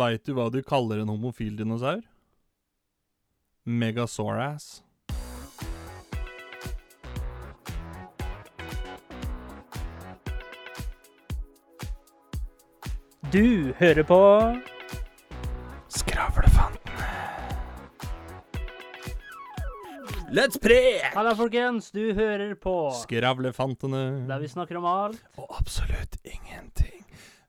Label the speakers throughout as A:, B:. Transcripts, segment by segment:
A: Veit du hva du kaller en homofil dinosaur? Megasaurass.
B: Du hører på
A: Skravlefantene.
C: Let's pre!
B: Halla, folkens! Du hører på
A: Skravlefantene.
B: Der vi snakker om alt.
A: Og absolutt ingenting.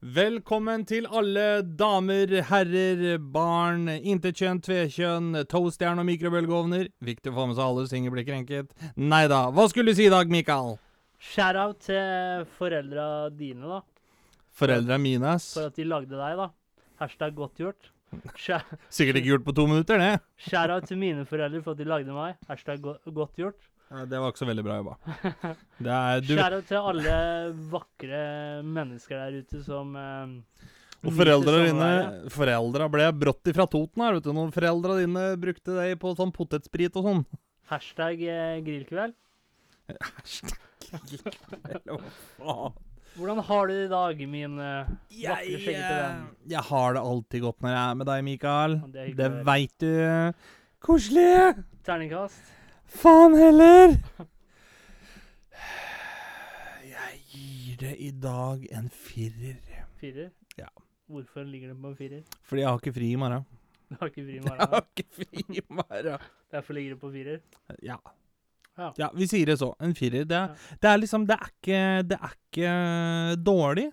A: Velkommen til alle damer, herrer, barn, intetkjønn, tvekjønn, toastjern og mikrobølgeovner. Viktig å få med seg alle, så ingen blir krenket. Nei da. Hva skulle du si i dag, Mikael?
B: Shout-out til foreldra dine, da.
A: Foreldra mine, ass.
B: For at de lagde deg, da. Hashtag godt gjort. Sha-
A: Sikkert ikke gjort på to minutter, det.
B: Shout-out til mine foreldre for at de lagde meg. Hashtag go godt gjort.
A: Ja, det var ikke så veldig bra jobba. Det er, du,
B: Shout-out til alle vakre mennesker der ute som eh,
A: Og
B: nyter
A: foreldra dine
B: samværet.
A: Foreldra ble brått ifra Toten her, vet du. Når foreldra dine brukte det på sånn potetsprit og sånn.
B: Hashtag eh, grillkveld. Hvordan har du det i dag, min eh, vakre
A: Jeg, eh,
B: skjeggete venn?
A: jeg har det alltid godt når jeg er med deg, Mikael.
B: Ja, det er hyggelig
A: Det
B: å høre.
A: veit du. Koselig!
B: Terningkast.
A: Faen heller! Jeg gir det i dag en firer.
B: Firer.
A: Ja.
B: Hvorfor ligger den på en firer?
A: Fordi jeg har ikke fri i morgen.
B: Du har ikke fri i
A: Jeg
B: morgen.
A: har ikke fri i morgen.
B: Derfor ligger det på firer.
A: Ja.
B: Ja.
A: ja. Vi sier det så. En firer. Det, er- det er liksom Det er ikke, det er ikke eh, dårlig,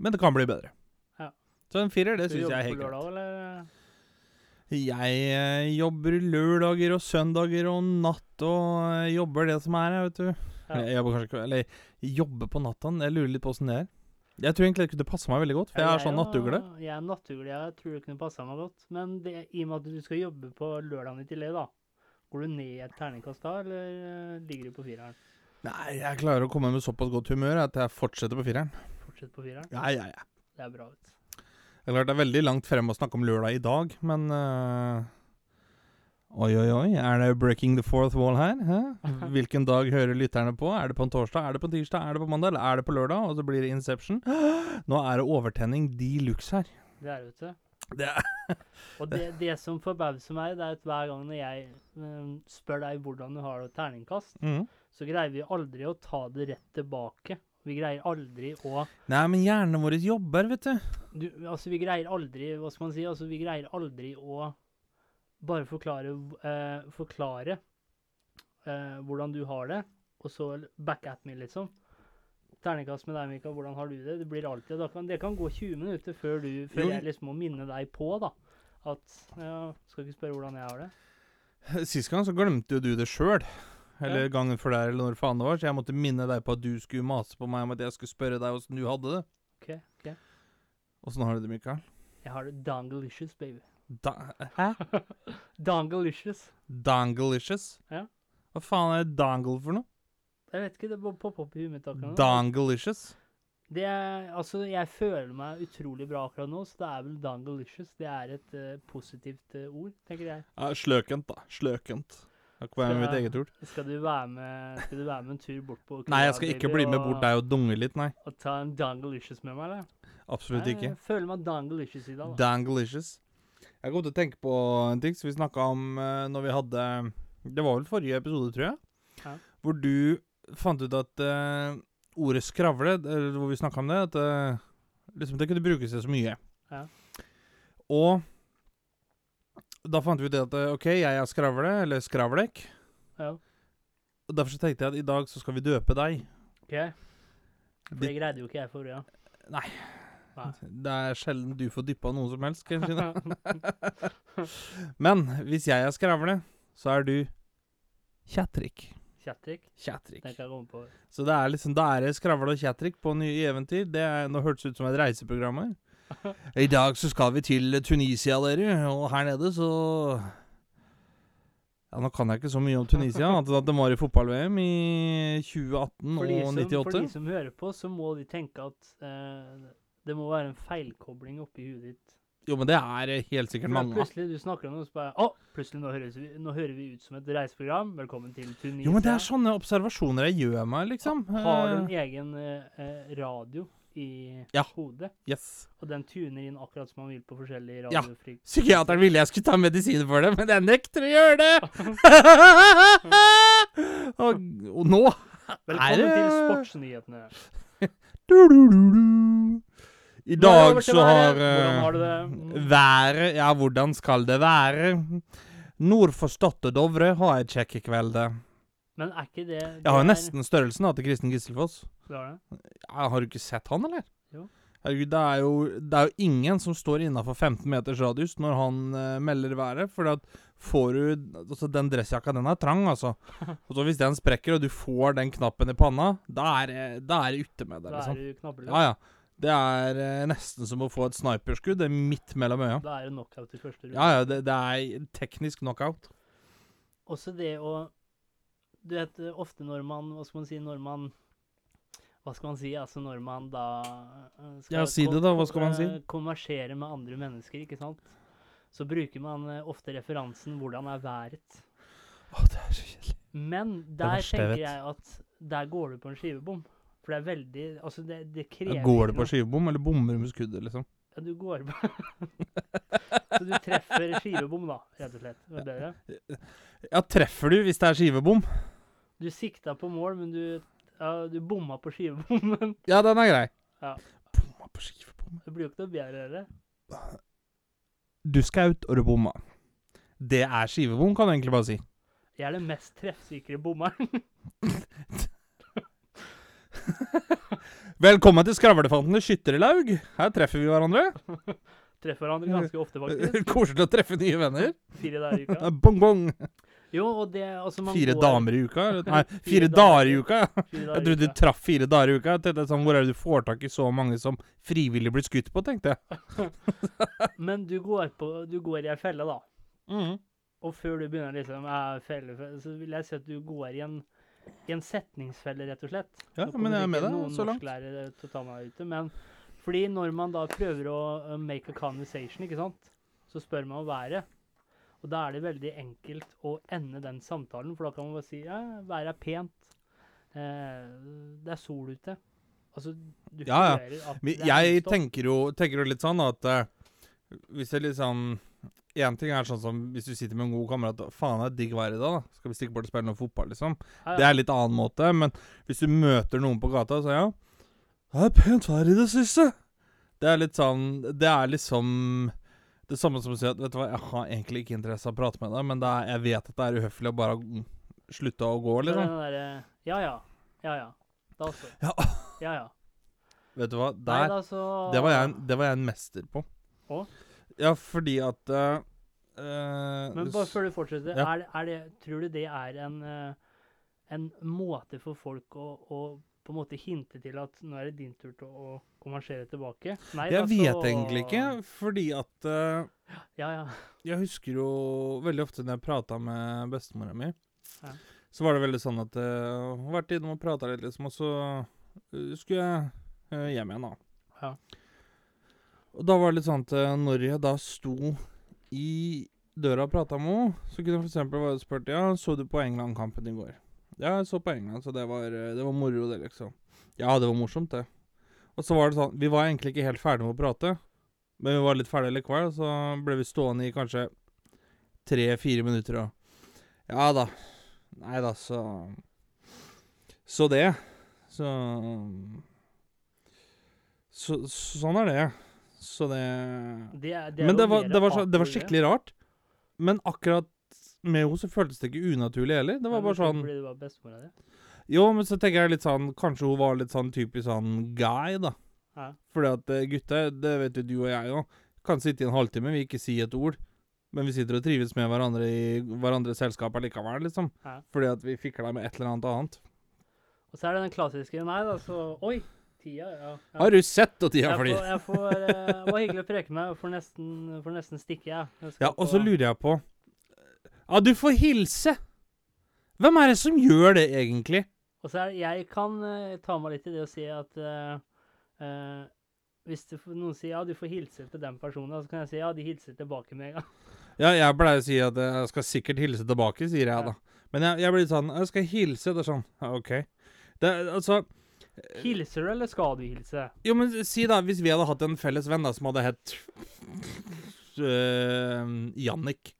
A: men det kan bli bedre.
B: Ja.
A: Så en firer, det syns jeg er helt
B: greit.
A: greit.
B: Eller?
A: Jeg eh, jobber lørdager og søndager og natt og eh, jobber det som er, jeg, vet du.
B: Ja.
A: Jeg jobber kanskje ikke Eller jeg jobber på natta. Jeg lurer litt på åssen det er. Jeg tror egentlig det kunne passe meg veldig godt, for jeg
B: Ja,
A: er sånn
B: jo-
A: nattugle.
B: Jeg er nattugle, jeg tror det kunne passa meg godt. Men det, i og med at du skal jobbe på lørdagen i tillegg, da. Går du ned et terningkast da, eller eh, ligger du på fireren?
A: Nei, jeg klarer å komme med såpass godt humør at jeg fortsetter på fireren.
B: Fortsett på fireren.
A: Ja, ja, ja.
B: Det er bra. Vet. du.
A: Det er klart det er veldig langt frem å snakke om lørdag i dag, men eh, Oi, oi, oi. Er det breaking the fourth wall her? Hæ? Hvilken dag hører lytterne på? Er det på en torsdag? Er det på en tirsdag? Er det på mandag? Eller er det på lørdag? Og så blir det Inception. Nå er det overtenning de luxe her.
B: Det er det, vet du.
A: Det er
B: Og det, det som forbauser meg, det er at hver gang når jeg eh, spør deg hvordan du har det terningkast,
A: mm.
B: så greier vi aldri å ta det rett tilbake. Vi greier aldri å
A: Nei, men hjernen vår jobber, vet du.
B: du, altså vi greier aldri, hva skal man si, altså vi greier aldri å bare forklare, eh, forklare eh, hvordan du har det, og så back at me, liksom. Ternekast med deg, Mikael, hvordan har du det? Det blir alltid, da kan, det kan gå 20 minutter før, du,
A: Jo.
B: før jeg liksom må minne deg på, da, at, ja, skal ikke spørre hvordan jeg har det.
A: Sist gang så glemte jo du det sjøl. Eller
B: Ja.
A: gangen før der, eller når faen det var. Så jeg måtte minne deg på at du skulle mase på meg om at jeg skulle spørre deg åssen du hadde det.
B: Ok, ok.
A: Åssen har du det, Mikael?
B: Jeg har det dangalicious, baby.
A: Da Hæ?
B: Dangalicious.
A: Dangalicious?
B: Ja.
A: Hva faen er dangle for noe?
B: Jeg vet ikke, det bare popper opp i huet mitt akkurat nå.
A: Dangalicious?
B: Det er, altså, jeg føler meg utrolig bra akkurat nå, så det er vel dangalicious. Det er et eh, positivt eh, ord, tenker jeg.
A: Ja, sløkent, da. Sløkent. Jeg kan være med mitt
B: Skal-
A: eget ord.
B: Skal du være med, skal du være med en tur bort på
A: Nei, jeg skal ikke bli med bort deg og dunge litt, nei.
B: Og ta en dangalicious med meg, eller?
A: Absolutt
B: Nei,
A: ikke.
B: Jeg føler meg dangalicious i dag, da.
A: Dangalicious. Jeg kom til å tenke på en ting som vi snakka om eh, når vi hadde Det var vel forrige episode, tror jeg,
B: Ja.
A: hvor du fant ut at eh, ordet 'skravle', eller hvor vi snakka om det, at eh, liksom det kunne brukes til så mye.
B: Ja.
A: Og da fant vi ut det at eh, OK, jeg er skravle, eller skravlek.
B: Ja.
A: Og Derfor så tenkte jeg at i dag så skal vi døpe deg.
B: OK. For det greide jo ikke jeg forrige gang.
A: Det er sjelden du får dyppa noe som helst, kan jeg si det. Men hvis jeg er skravle, så er du kjatrik.
B: Kjatrik.
A: Kjatrik.
B: Den kan jeg komme på.
A: Så det er liksom, da er det skravle og kjatrik på nye eventyr. Det er, nå hørtes det ut som et reiseprogram her. I dag så skal vi til Tunisia, dere, og her nede så ja, Nå kan jeg ikke så mye om Tunisia, annet enn at de var i fotball-VM i 2018
B: For
A: og
B: de, som, for
A: 98.
B: de som hører på, så må de tenke at eh, det må være en feilkobling oppi huet ditt.
A: Jo, men det er helt sikkert
B: Men
A: mange.
B: Plutselig du snakker om noe, så bare Å, plutselig nå, høres vi, nå hører vi ut som et reiseprogram. Velkommen til Tunisia.
A: Jo, men det er sånne observasjoner jeg gjør meg, liksom.
B: Har du
A: Eh,
B: en egen eh, eh, radio i
A: Ja.
B: hodet.
A: Eh, Yes.
B: Og den tuner inn akkurat som man vil på forskjellige
A: Ja.
B: radiofrik...
A: Psykiateren ville jeg skulle ta medisiner for det, men jeg nekter å gjøre det! og, og nå
B: Velkommen
A: Er det-
B: til sportsnyhetene.
A: Du-du-du-du. I
B: Nå er det over
A: dag
B: til
A: så har
B: været. Hvordan har du det?
A: eh, Været Ja, hvordan skal det være? Nord for Stad og Dovre har jeg et sjekkekvelde.
B: Men er ikke det
A: Jeg har jo nesten størrelsen da, til Kristen Gisselfoss.
B: Du har det?
A: Ja, har du ikke sett han, eller?
B: Jo.
A: Herregud, det er jo, det er jo ingen som står innafor 15 meters radius når han eh, melder været. For at får du Altså, den dressjakka, den er trang, altså. Og så hvis den sprekker, og du får den knappen i panna, da er det- da er det ute med det,
B: Da
A: liksom.
B: er du knabla.
A: Ja, ja. Det er eh, nesten som å få et sniperskudd. Det er midt mellom øya.
B: Da er det knockout i første runde.
A: Ja, ja, det, det er teknisk knockout.
B: Også det å Du vet eh, ofte når man Hva skal man si når man Hva skal man si? Altså når man da eh,
A: Ja, si det da, hva skal man si?
B: eh, Konversere med andre mennesker, ikke sant? Så bruker man eh, ofte referansen 'hvordan er været'.
A: Å, det er så kjedelig.
B: Men der
A: verste jeg
B: tenker
A: vet.
B: jeg at der går du på en skivebom. For det er veldig Altså, det, det
A: Ja,
B: krever
A: Går det
B: ikke
A: på
B: noe.
A: skivebom, eller bommer du med skuddet, liksom?
B: Ja, du går på Så du treffer skivebom, da, rett og slett. Var det bedre?
A: Ja, treffer du hvis det er skivebom?
B: Du sikta på mål, men du ja, Du bomma på skivebommen.
A: Ja, den er grei.
B: Ja.
A: Bomma på skivebom.
B: Det blir jo ikke noe bedre, det.
A: Du skaut, og du bomma. Det er skivebom, kan du egentlig bare si.
B: Jeg er den mest treffsikre bommeren.
A: Velkommen til Skravlefantene skytterlaug. Her treffer vi hverandre.
B: Treffer hverandre ganske ofte, faktisk.
A: Koselig å treffe nye venner.
B: Fire dager i uka.
A: Bong, bong.
B: Jo, og det altså man
A: Fire
B: går,
A: damer i uka? eller- Nei, fire
B: Fire
A: dager i uka.
B: Fire
A: Jeg
B: dager i
A: trodde du
B: uka.
A: traff fire dager i uka. Jeg tenkte sånn, Hvor er det du får tak i så mange som frivillig blir skutt på, tenkte jeg.
B: Men du går, på, du går i ei felle, da. Mm. Og før du begynner liksom «Æ, felle, felle, Så vil jeg si at du går i en, i en setningsfelle, rett og slett.
A: Ja,
B: Nå
A: men
B: kommer
A: jeg er med deg
B: sikkert
A: så langt.
B: Noen norsklærere til å ta meg ute, men fordi når man da prøver å uh, make a conversation, ikke sant, så spør man om været. Og da er det veldig enkelt å ende den samtalen, for da kan man bare si ja, været er pent. Eh, det er sol ute. Altså, du
A: Ja, ja.
B: hører at
A: Men
B: det er
A: jeg
B: stopp.
A: tenker jo, tenker jo litt sånn at eh, hvis jeg liksom Én ting er sånn som hvis du sitter med en god kamerat og 'Faen, det er digg vær i dag, da. Skal vi stikke bort og spille noe fotball?' liksom.
B: Ja,
A: Det
B: ja.
A: er litt annen måte, men hvis du møter noen på gata, så ja 'Det er pent vær i det siste'. Det er litt sånn Det er liksom det samme som å si at 'Vet du hva, jeg har egentlig ikke interesse av å prate med deg', men det er, jeg vet at det er uhøflig å bare mm, slutte å gå,
B: Så det er
A: liksom.
B: den derre, ja, ja. Ja, ja. Da så.
A: Ja.
B: Ja, ja.
A: Vet du hva?
B: Nei,
A: Der,
B: da, så-
A: det, var jeg, en- det var jeg en mester på.
B: Å?
A: Ja, fordi at eh, eh,
B: Men bare før du fortsetter,
A: Ja.
B: er, det- er det, tror du det er en, eh, en måte for folk å, å på en måte hinte til at nå er det din tur til å konversere tilbake? Nei,
A: Jeg
B: da,
A: vet
B: så-
A: egentlig ikke, fordi at eh,
B: Ja, ja.
A: Jeg husker jo veldig ofte når jeg prata med bestemora mi,
B: Ja.
A: så var det veldig sånn at eh, hun har vært innom og prata litt, liksom, og så eh, skulle jeg eh, hjem igjen, da.
B: Ja.
A: Og da var det litt sånn at eh, når jeg da sto i døra og prata med henne, så kunne jeg f.eks. være spurt Ja, så du på England-kampen i går? Ja, jeg så på England, så det var, eh, det var moro, det, liksom. Ja, det var morsomt, det. Og så var det sånn Vi var egentlig ikke helt ferdige med å prate, men vi var litt ferdige likevel, og så ble vi stående i kanskje tre-fire minutter og Ja da. Nei da, så Så det. Så så, sånn er det. Så det
B: Det, er- det er
A: Men
B: jo
A: det var,
B: mer
A: det, var så, det var
B: artig,
A: skikkelig rart. Men akkurat med henne så føltes det ikke unaturlig heller. Det
B: Ja,
A: var
B: men
A: bare sånn
B: Fordi det var bestemora di?
A: Jo, men så tenker jeg litt sånn Kanskje hun var litt sånn typisk sånn guy, da.
B: Ja.
A: Fordi at eh, gutter, det vet jo du og jeg òg, kan sitte i en halvtime, vi ikke sier et ord. Men vi sitter og trives med hverandre i hverandres selskap allikevel, liksom.
B: Ja.
A: Fordi at vi fikla med et eller annet annet.
B: Og så er det den klassiske Nei da, så Oi! Tida, ja. ja.
A: Har du sett at tida
B: Jeg får,
A: flyr?
B: jeg får, eh, det var hyggelig å preke med deg. Får nesten, får nesten stikke, jeg. jeg. skal
A: Ja, og så
B: på-
A: lurer jeg på Ja, du får hilse! Hvem er det som gjør det, egentlig?
B: Og så er det, jeg kan eh, ta meg litt i det og si at eh, eh, hvis det, noen sier ja, du får hilse til den personen, da», så kan jeg si ja, de hilser tilbake med en gang.
A: Ja, jeg pleier å si at eh, jeg skal sikkert hilse tilbake, sier jeg da. Men jeg, jeg blir sånn Jeg skal hilse. Det er sånn ja, OK. Det, er- altså
B: Hilser du, eller skal du hilse?
A: Jo, men si da, hvis vi hadde hatt en felles venn da, som hadde hett øh, Jannik.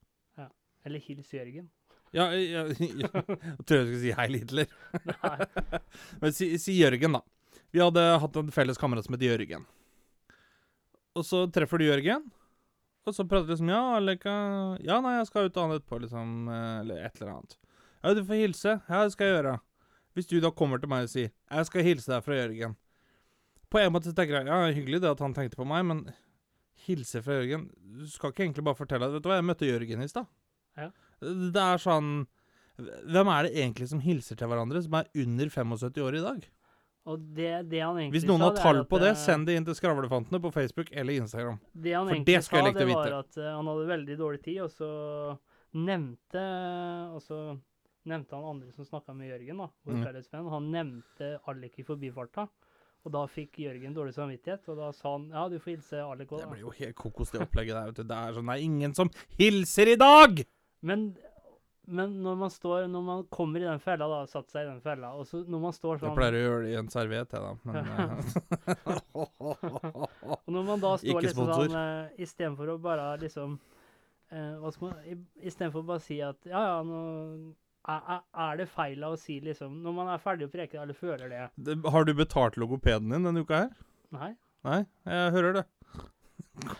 B: Eller hils Jørgen?
A: Ja, ja, ja, jeg tror jeg skulle si Heil Hitler.
B: Nei.
A: Men si, si Jørgen, da. Vi hadde hatt en felles kamerat som het Jørgen. Og så treffer du Jørgen, og så prater du liksom Ja, eller hva Ja, nei, jeg skal ut og annet etterpå, liksom. eh, Eller et eller annet. Ja, du får hilse. Ja, det skal jeg gjøre. Hvis du da kommer til meg og sier Jeg skal hilse deg fra Jørgen. På en måte så tenker jeg ja, hyggelig det at han tenkte på meg, men hilse fra Jørgen Du skal ikke egentlig bare fortelle at Vet du hva, jeg møtte Jørgen i stad.
B: Ja.
A: Det er sånn Hvem er det egentlig som hilser til hverandre, som er under 75 år i dag?
B: Og det, det han egentlig
A: Hvis noen
B: sa,
A: har
B: det er
A: tall
B: at,
A: på det,
B: eh,
A: send det inn til Skravlefantene på Facebook eller Instagram.
B: Det han
A: For
B: egentlig
A: det skulle jeg
B: sa,
A: likt å
B: det
A: vite.
B: var at eh, han hadde veldig dårlig tid, og så nevnte eh, Og så nevnte han andre som snakka med Jørgen, da, vår
A: Mhm.
B: felles venn. Han nevnte Alek i forbifarta, og da fikk Jørgen dårlig samvittighet, og da sa han ja, du får hilse Alek
A: Det
B: òg,
A: blir
B: da.
A: jo helt kokos, det opplegget der, vet du. Det er sånn Det er ingen som hilser i dag!
B: Men, men når man står Når man kommer i den fella, da, satt seg i den fella, og så når man står
A: Jeg
B: sånn
A: pleier å gjøre det i en serviett, jeg, da. Men eh,
B: Og når man da står
A: Ikke
B: liksom
A: sponsor.
B: sånn eh, Istedenfor å bare liksom eh, hva skal man, i- Istedenfor å bare si at ja, ja, nå er, er- er det feil av å si liksom Når man er ferdig å preke, eller føler det
A: det- Har du betalt logopeden din denne uka her?
B: Nei?
A: Nei, jeg hører det.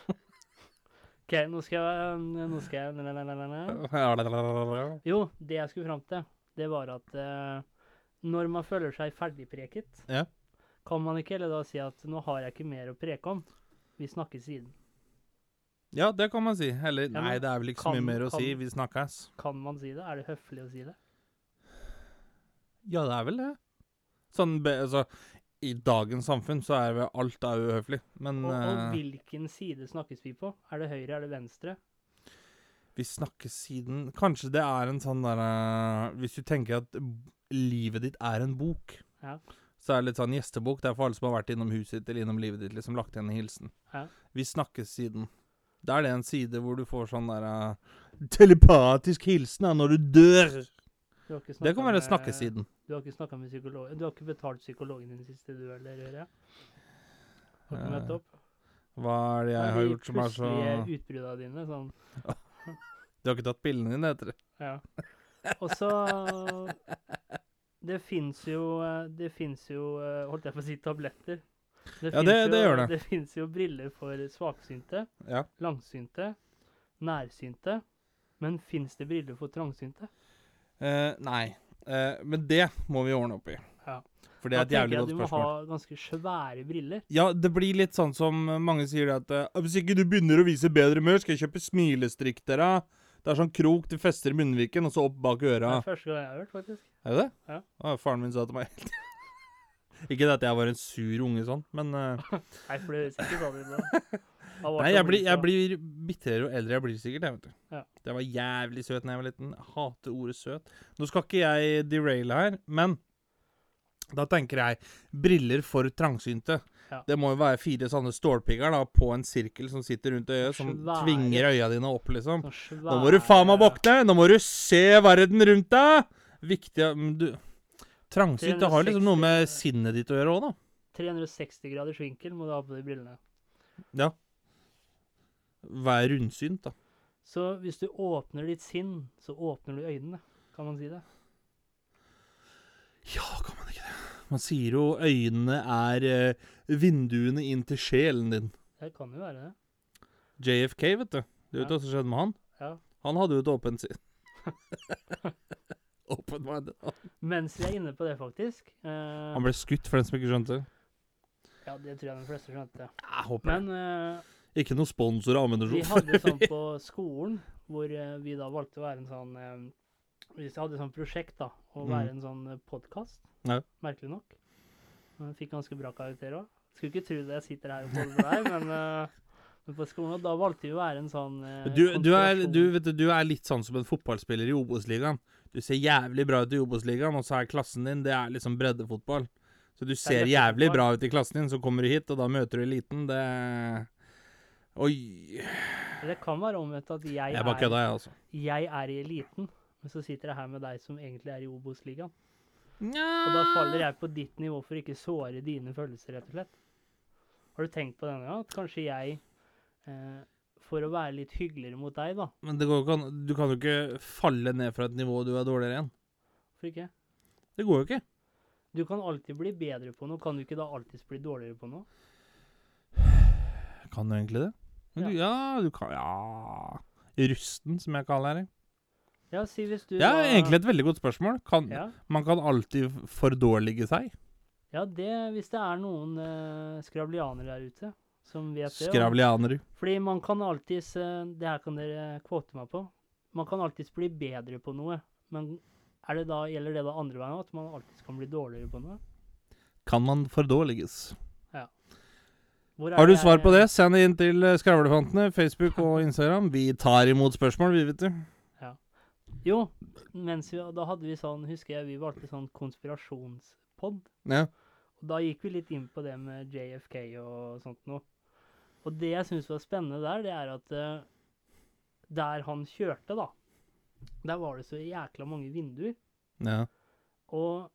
B: OK, nå skal jeg eh, Nå skal jeg nei, nei, nei, nei, nei. Jo, det jeg skulle fram til, det var at eh, når man føler seg ferdigpreket,
A: Ja.
B: kan man ikke heller da si at 'nå har jeg ikke mer å preke om', vi snakkes siden.
A: Ja, det kan man si. Eller
B: men
A: nei, det er vel ikke så
B: kan-
A: mye mer å
B: kan-
A: si. Vi snakkes.
B: Kan man si det? Er det høflig å si det?
A: Ja, det er vel det. Sånn, be, altså, I dagens samfunn så er vel alt er uhøflig, men
B: Og, og
A: eh,
B: hvilken side snakkes vi på? Er det høyre, er det venstre?
A: vi snakkes siden Kanskje det er en sånn derre Hvis du tenker at b- livet ditt er en bok,
B: Ja.
A: så er det litt sånn gjestebok. Det er for alle som har vært innom huset ditt eller innom livet ditt, liksom lagt igjen en hilsen.
B: Ja.
A: Vi snakkes siden. Da er det en side hvor du får sånn derre Telepatisk hilsen er når du dør!
B: Sånn Du har ikke
A: Det
B: snakket
A: kan være
B: med-
A: snakkesiden.
B: Du har ikke snakka med psykologen Du har ikke betalt psykologen din siste du, eller? hører jeg? Har ikke
A: Eh,
B: møtt opp?
A: Hva er det jeg har gjort som er så
B: plutselige utbruddene dine, sånn.
A: Du har ikke tatt pillene dine, heter det.
B: Ja. Og så Det fins jo eh, Det fins jo eh, Holdt jeg på å si tabletter.
A: Ja,
B: finnes
A: det- det
B: jo,
A: gjør det.
B: Det fins jo briller for svaksynte,
A: Ja.
B: langsynte, nærsynte. Men fins det briller for trangsynte?
A: Eh, nei. Eh, men det må vi ordne opp i.
B: Ja.
A: For det er
B: Da
A: et
B: tenker
A: jævlig
B: jeg
A: godt
B: Du må
A: spørsmål.
B: ha ganske svære briller.
A: Ja, det blir litt sånn som eh, mange sier det at eh, Hvis ikke du begynner å vise bedre humør, skal jeg kjøpe smilestrikk til deg. Det er sånn krok du fester i munnviken, og så opp bak øra.
B: Det er første gang jeg har hørt, faktisk.
A: Er det det?
B: Ja.
A: Å, faren min sa til meg Ikke det at jeg var en sur unge sånn, men eh,
B: Nei, for det høres ikke sånn ut. da. Han var
A: Nei,
B: så
A: jeg blir,
B: blid,
A: jeg
B: så-
A: blir bitrere jo eldre jeg blir sikkert, jeg, vet du.
B: Ja.
A: Det var jævlig søt da jeg var liten. Jeg Hater ordet søt. Nå skal ikke jeg deraile her, men da tenker jeg briller for trangsynte.
B: Ja.
A: Det må jo være fire sånne stålpigger da, på en sirkel som sitter rundt øyet, som
B: Sånn Svære.
A: tvinger øya dine opp, liksom.
B: Sånn svære...
A: Nå må du faen meg våkne! Nå må du se verden rundt deg! Viktig men du Trangsynte har liksom noe med
B: 360
A: sinnet ditt å gjøre òg, da.
B: 360 Sånn graders vinkel må du ha på de brillene.
A: Ja. Vær rundsynt, da.
B: Så hvis du åpner ditt sinn, så åpner du øynene. Kan man si det?
A: Ja, kan man ikke det? Man sier jo øynene er eh, vinduene inn til sjelen din.
B: Det kan jo være det.
A: JFK, vet du. Du vet
B: Ja.
A: hva som skjedde med han?
B: Ja.
A: Han hadde jo et åpent sinn. Open mind.
B: Mens vi er inne på det, faktisk eh,
A: Han ble skutt, for den som ikke skjønte.
B: Ja, det tror jeg de fleste skjønte.
A: Jeg håper
B: Men eh,
A: det. Ikke noe sponsor av
B: vi
A: ammunisjon.
B: hadde sånn på skolen, hvor eh, vi da valgte å være en sånn eh, Vi hadde sånn prosjekt, da, å
A: Mm.
B: være en sånn podkast.
A: Ja.
B: Merkelig nok. Eh, Fikk ganske bra karakter òg. Skulle ikke tro det jeg sitter her og holder det der, men, eh, men på skolen Og da valgte vi å være en sånn eh,
A: Du, du, er,
B: konspirasjon.
A: du, vet du, du er litt sånn som en fotballspiller i Obos-ligaen. Du ser jævlig bra ut i Obos-ligaen, og så er klassen din det er liksom breddefotball. Så du ser jævlig bra ut i klassen din, så kommer du hit, og da møter du eliten. Det Oi.
B: Det kan være omvendt at jeg,
A: Jeg bare kødda, jeg, altså.
B: er, jeg er i eliten, men så sitter jeg her med deg som egentlig er i Obos-ligaen. Og da
A: Ah.
B: faller jeg på ditt nivå for å ikke såre dine følelser, rett og slett. Har du tenkt på denne gang? At kanskje jeg, eh, for å være litt hyggeligere mot deg, da
A: Men det går jo ikke an, du kan jo ikke falle ned fra et nivå du er dårligere enn.
B: Hvorfor ikke?
A: Det går jo ikke.
B: Du kan alltid bli bedre på noe. Kan du ikke da alltids bli dårligere på noe?
A: Kan du egentlig det? Men du, ja, du kan Ja. Rusten, som jeg kaller det.
B: Ja, si hvis du
A: Det er
B: da-
A: egentlig et veldig godt spørsmål. Kan,
B: ja.
A: Man kan alltid fordårlige seg.
B: ja, det hvis det er noen eh, skravlianere der ute som vet det. og-
A: Skravlianer.
B: Fordi man kan alltids eh, Det her kan dere kvote meg på. Man kan alltids bli bedre på noe. Men er det da, gjelder det da andre veien òg? At man alltids kan bli dårligere på noe?
A: Kan man fordårliges?
B: Hvor er
A: Har du
B: jeg-
A: svar på det, send det inn til eh, Skravlefantene, Facebook og Instagram. Vi tar imot spørsmål, vi, vet du.
B: Jo, mens vi, da hadde vi sånn, husker jeg vi valgte sånn konspirasjonspod.
A: Ja.
B: Og da gikk vi litt inn på det med JFK og sånt noe. Og det jeg syns var spennende der, det er at eh, der han kjørte, da, der var det så jækla mange vinduer.
A: ja.
B: Og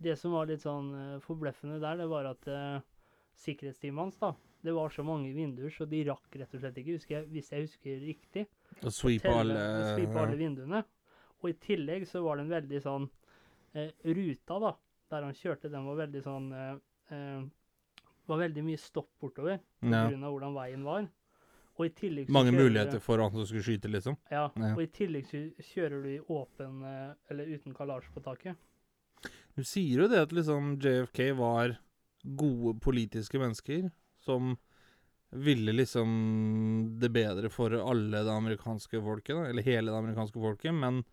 B: det som var litt sånn eh, forbløffende der, det var at eh, sikkerhetsteamet hans, da, det var så mange vinduer, så de rakk rett og slett ikke, husker jeg, hvis jeg husker riktig
A: Og sweepe
B: telle-
A: alle
B: sweepe alle vinduene. Og i tillegg så var den veldig sånn eh, Ruta, da, der han kjørte, den var veldig sånn eh, eh, Var veldig mye stopp bortover
A: ja.
B: pga. av hvordan veien var. Og i tillegg så
A: Mange
B: kjører-
A: muligheter for han som skulle skyte, liksom.
B: Ja,
A: Ja.
B: Og i tillegg så kjører du i åpen eh, Eller uten kallasj på taket.
A: Du sier jo det at liksom JFK var gode politiske mennesker som ville liksom det bedre for alle det amerikanske folket, da, eller hele det amerikanske folket, men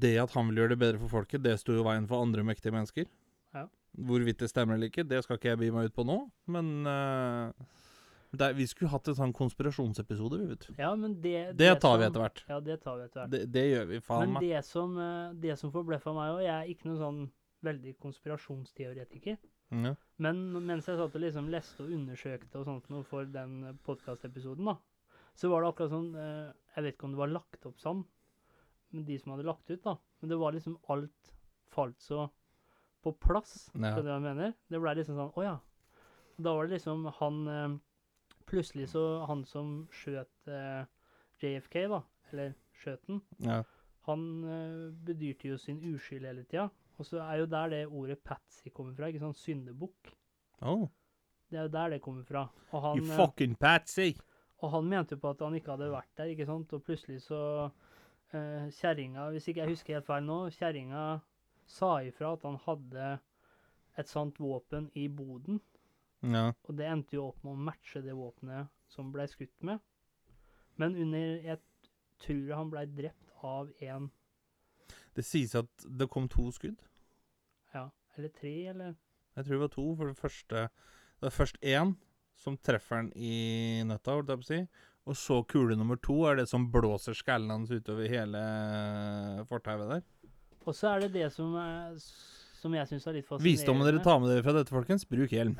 A: det at han ville gjøre det bedre for folket, det sto jo i veien for andre mektige mennesker.
B: Ja.
A: Hvorvidt det stemmer eller ikke, det skal ikke jeg bi meg ut på nå, men eh, det er, vi skulle hatt en sånn konspirasjonsepisode, vi, vet du.
B: Ja, men det
A: Det tar vi
B: som-
A: etter hvert.
B: Ja, det tar vi etter hvert.
A: Det, det gjør vi, faen
B: Men
A: meg.
B: det som, eh, det som forbløffa meg òg, jeg er ikke noen sånn veldig konspirasjonsteoretiker.
A: Ja.
B: Men mens jeg satt og liksom leste og undersøkte og sånt noe for den podkastepisoden, da, så var det akkurat sånn eh, Jeg vet ikke om det var lagt opp sånn, men de som hadde lagt ut, da. Men det var liksom alt falt så på plass,
A: Ja.
B: skjønner du hva jeg mener? Det blei liksom sånn Å ja. Da var det liksom han eh, Plutselig så han som skjøt eh, JFK, da, eller skjøt den,
A: Ja.
B: han eh, bedyrte jo sin uskyld hele tida. Og så er jo der det ordet patsy kommer fra, ikke sånn syndebukk.
A: Oh.
B: Det er jo der det kommer fra. Og han,
A: you
B: eh,
A: fucking patsy!
B: og han mente jo på at han ikke hadde vært der, ikke sant? Og plutselig så eh, Kjerringa, hvis ikke jeg husker helt feil nå, kjerringa sa ifra at han hadde et sånt våpen i boden.
A: Ja.
B: Og det endte jo opp med å matche det våpenet som blei skutt med. Men under Jeg tror han blei drept av en
A: Det sies at det kom to skudd.
B: Ja, eller tre, eller
A: Jeg tror det var to, for det første Det er først én som treffer han i nøtta, holdt jeg på å si. Og så kule nummer to er det som blåser skallen hans utover hele eh, fortauet der.
B: Og så er det det som, er, som jeg syns er litt fascinerende.
A: Visdommen dere tar med dere fra dette, folkens, bruk hjelm.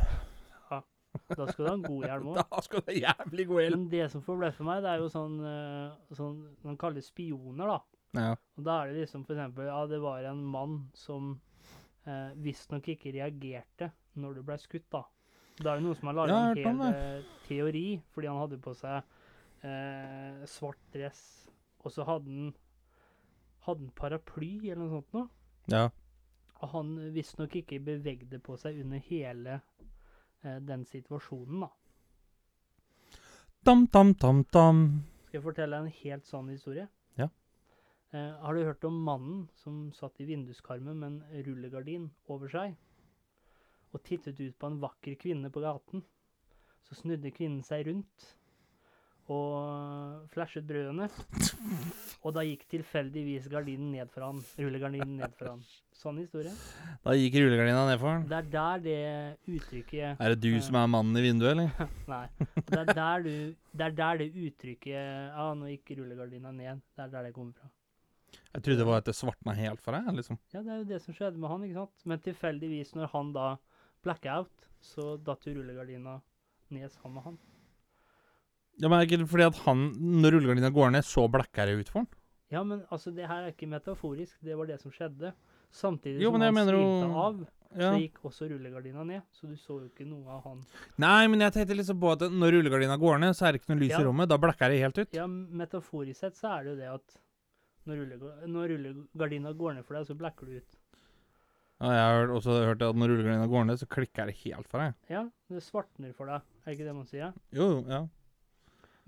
B: Da skal du ha en god hjelm òg.
A: Da skal du ha jævlig god hjelm!
B: Men det som forbløffer meg, det er jo sånn, eh, sånn Man kaller det spioner, da.
A: Ja.
B: Og da er det liksom for eksempel Ja, det var en mann som eh, visstnok ikke reagerte når det ble skutt, da. Da er det noen som har laget
A: Ja, jeg har hørt
B: en
A: om
B: hel eh, teori, fordi han hadde på seg eh, svart dress, og så hadde han hadde han paraply eller noe sånt noe.
A: ja.
B: Og han visstnok ikke bevegde på seg under hele eh, den situasjonen, da.
A: Dam-dam-dam-dam.
B: Skal jeg fortelle en helt sann historie?
A: Ja.
B: Eh, har du hørt om mannen som satt i vinduskarmen med en rullegardin over seg, og tittet ut på en vakker kvinne på gaten? Så snudde kvinnen seg rundt og flashet brødene. Og da gikk tilfeldigvis gardinen ned for han. Rullegardinen ned for han. Sånn historie.
A: Da gikk rullegardina nedfor han.
B: Det er der det uttrykket
A: Er det du som er mannen i vinduet, eller?
B: Nei. Det er der, du, det, er der det uttrykket Ja, nå gikk rullegardina ned. Det er der det kommer fra.
A: Jeg trodde det var at det svartna helt for deg, liksom.
B: Ja, det er jo det som skjedde med han, ikke sant? Men tilfeldigvis, når han da blackout, så datt jo rullegardina ned sammen med han.
A: Ja, men er det ikke fordi at han, når rullegardina går ned, så blacker det ut for han?
B: Ja, men altså, det her er ikke metaforisk. Det var det som skjedde. Samtidig
A: Jo,
B: som
A: men jeg
B: han
A: mener
B: svilte
A: jo-
B: av, så
A: Ja.
B: gikk også rullegardina ned. Så du så jo ikke noe av han.
A: Nei, men jeg tenkte liksom på at når rullegardina går ned, så er det ikke noe lys
B: Ja.
A: i rommet. Da blacker det helt ut.
B: Ja, metaforisk sett så er det jo det at når, rullega- når rullegardina går ned for deg, så blacker du ut.
A: Og jeg har også hørt at når rullegardina går ned, så klikker det helt for deg.
B: Ja, det svartner for deg. Er det ikke det man sier?
A: Jo, jo, ja.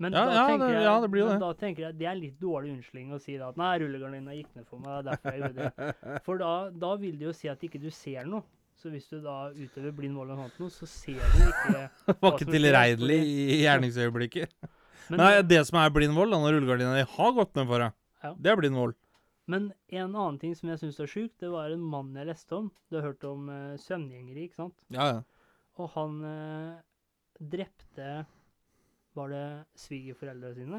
B: Men
A: Ja,
B: da
A: ja,
B: tenker
A: det-
B: jeg,
A: ja, det blir jo
B: men
A: det.
B: Da tenker jeg, det er litt dårlig unnskyldning å si da at nei, rullegardina gikk ned for meg, det er derfor jeg gjorde det. For da, da vil det jo si at ikke du ser noe. Så hvis du da utøver blind vold og sånt noe, så ser du
A: Var
B: ikke Hva
A: ikke
B: som skjer,
A: tilregnelig
B: fordi-
A: i gjerningsøyeblikket.
B: Men,
A: Nei, det som er blind vold, da, når rullegardina di har gått ned for deg,
B: Ja.
A: det er blind vold.
B: men en annen ting som jeg syns er sjukt, det var en mann jeg leste om. Du har hørt om eh, søvngjengere, ikke sant?
A: Ja, ja.
B: Og han eh, drepte Var det svigerforeldrene sine?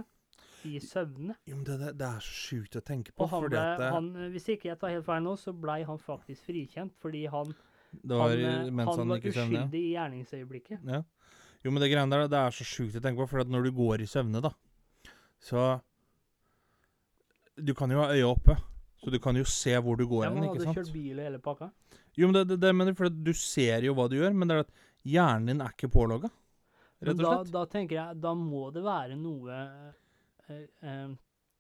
B: I søvne.
A: Jo, men det, det, det er så sjukt å tenke på,
B: Og han
A: fordi
B: ble,
A: at det,
B: han, eh, hvis ikke jeg tar helt feil nå, så blei han faktisk frikjent. Fordi han,
A: det var
B: han, eh,
A: mens han,
B: han var
A: gikk i søvne.
B: uskyldig i gjerningsøyeblikket.
A: Ja. Jo, men det greiene der, det er så sjukt å tenke på, for at når du går i søvne, da, så Du kan jo ha øya oppe, så du kan jo se hvor du går
B: Ja,
A: hen,
B: men han
A: ikke
B: hadde
A: sant?
B: kjørt bil og hele pakka.
A: Jo, men det, det, det mener jeg, for at du ser jo hva du gjør, men det er at hjernen din er ikke pålogga,
B: Men
A: rett og
B: da,
A: slett.
B: da tenker jeg da må det være noe eh, eh,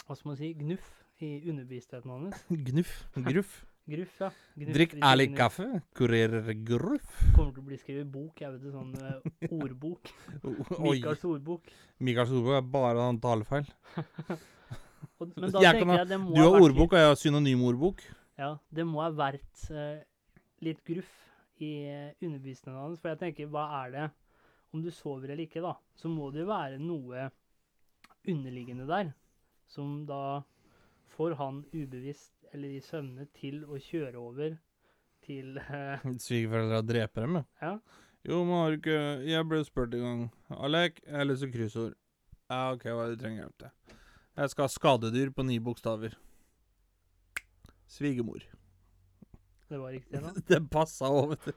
B: Hva skal man si gnuff i underbevisstheten hans.
A: Gnuff. Gruff.
B: Gruff, ja. Gnuff,
A: Drikk
B: hvis ikke
A: ærlig
B: gnuff.
A: kaffe. Kurerer gruff.
B: Kommer til å bli skrevet bok, jeg vet det, sånn eh, ordbok.
A: Oi.
B: Michaels ordbok.
A: Mikael Solberg er bare en talefeil.
B: Og, men da
A: Jeg kan
B: tenker
A: ha-
B: jeg det må
A: Du har
B: ha vært
A: ordbok, og jeg har synonymordbok.
B: Litt, ja, det må ha vært eh, litt gruff i eh, underbevisningen hans. For jeg tenker, hva er det Om du sover eller ikke, da, så må det jo være noe underliggende der som da får han ubevisst eller i søvne til å kjøre over til eh,
A: Svigerforeldra dreper dem,
B: Ja.
A: Jo, men har du ikke Jeg ble spurt en gang. Alek, jeg har lyst til kryssord. Ja, OK, hva er det du trenger hjelp til? Jeg skal ha skadedyr på ni bokstaver. Svigermor.
B: Det var riktig, da.
A: Det passa òg, vet du.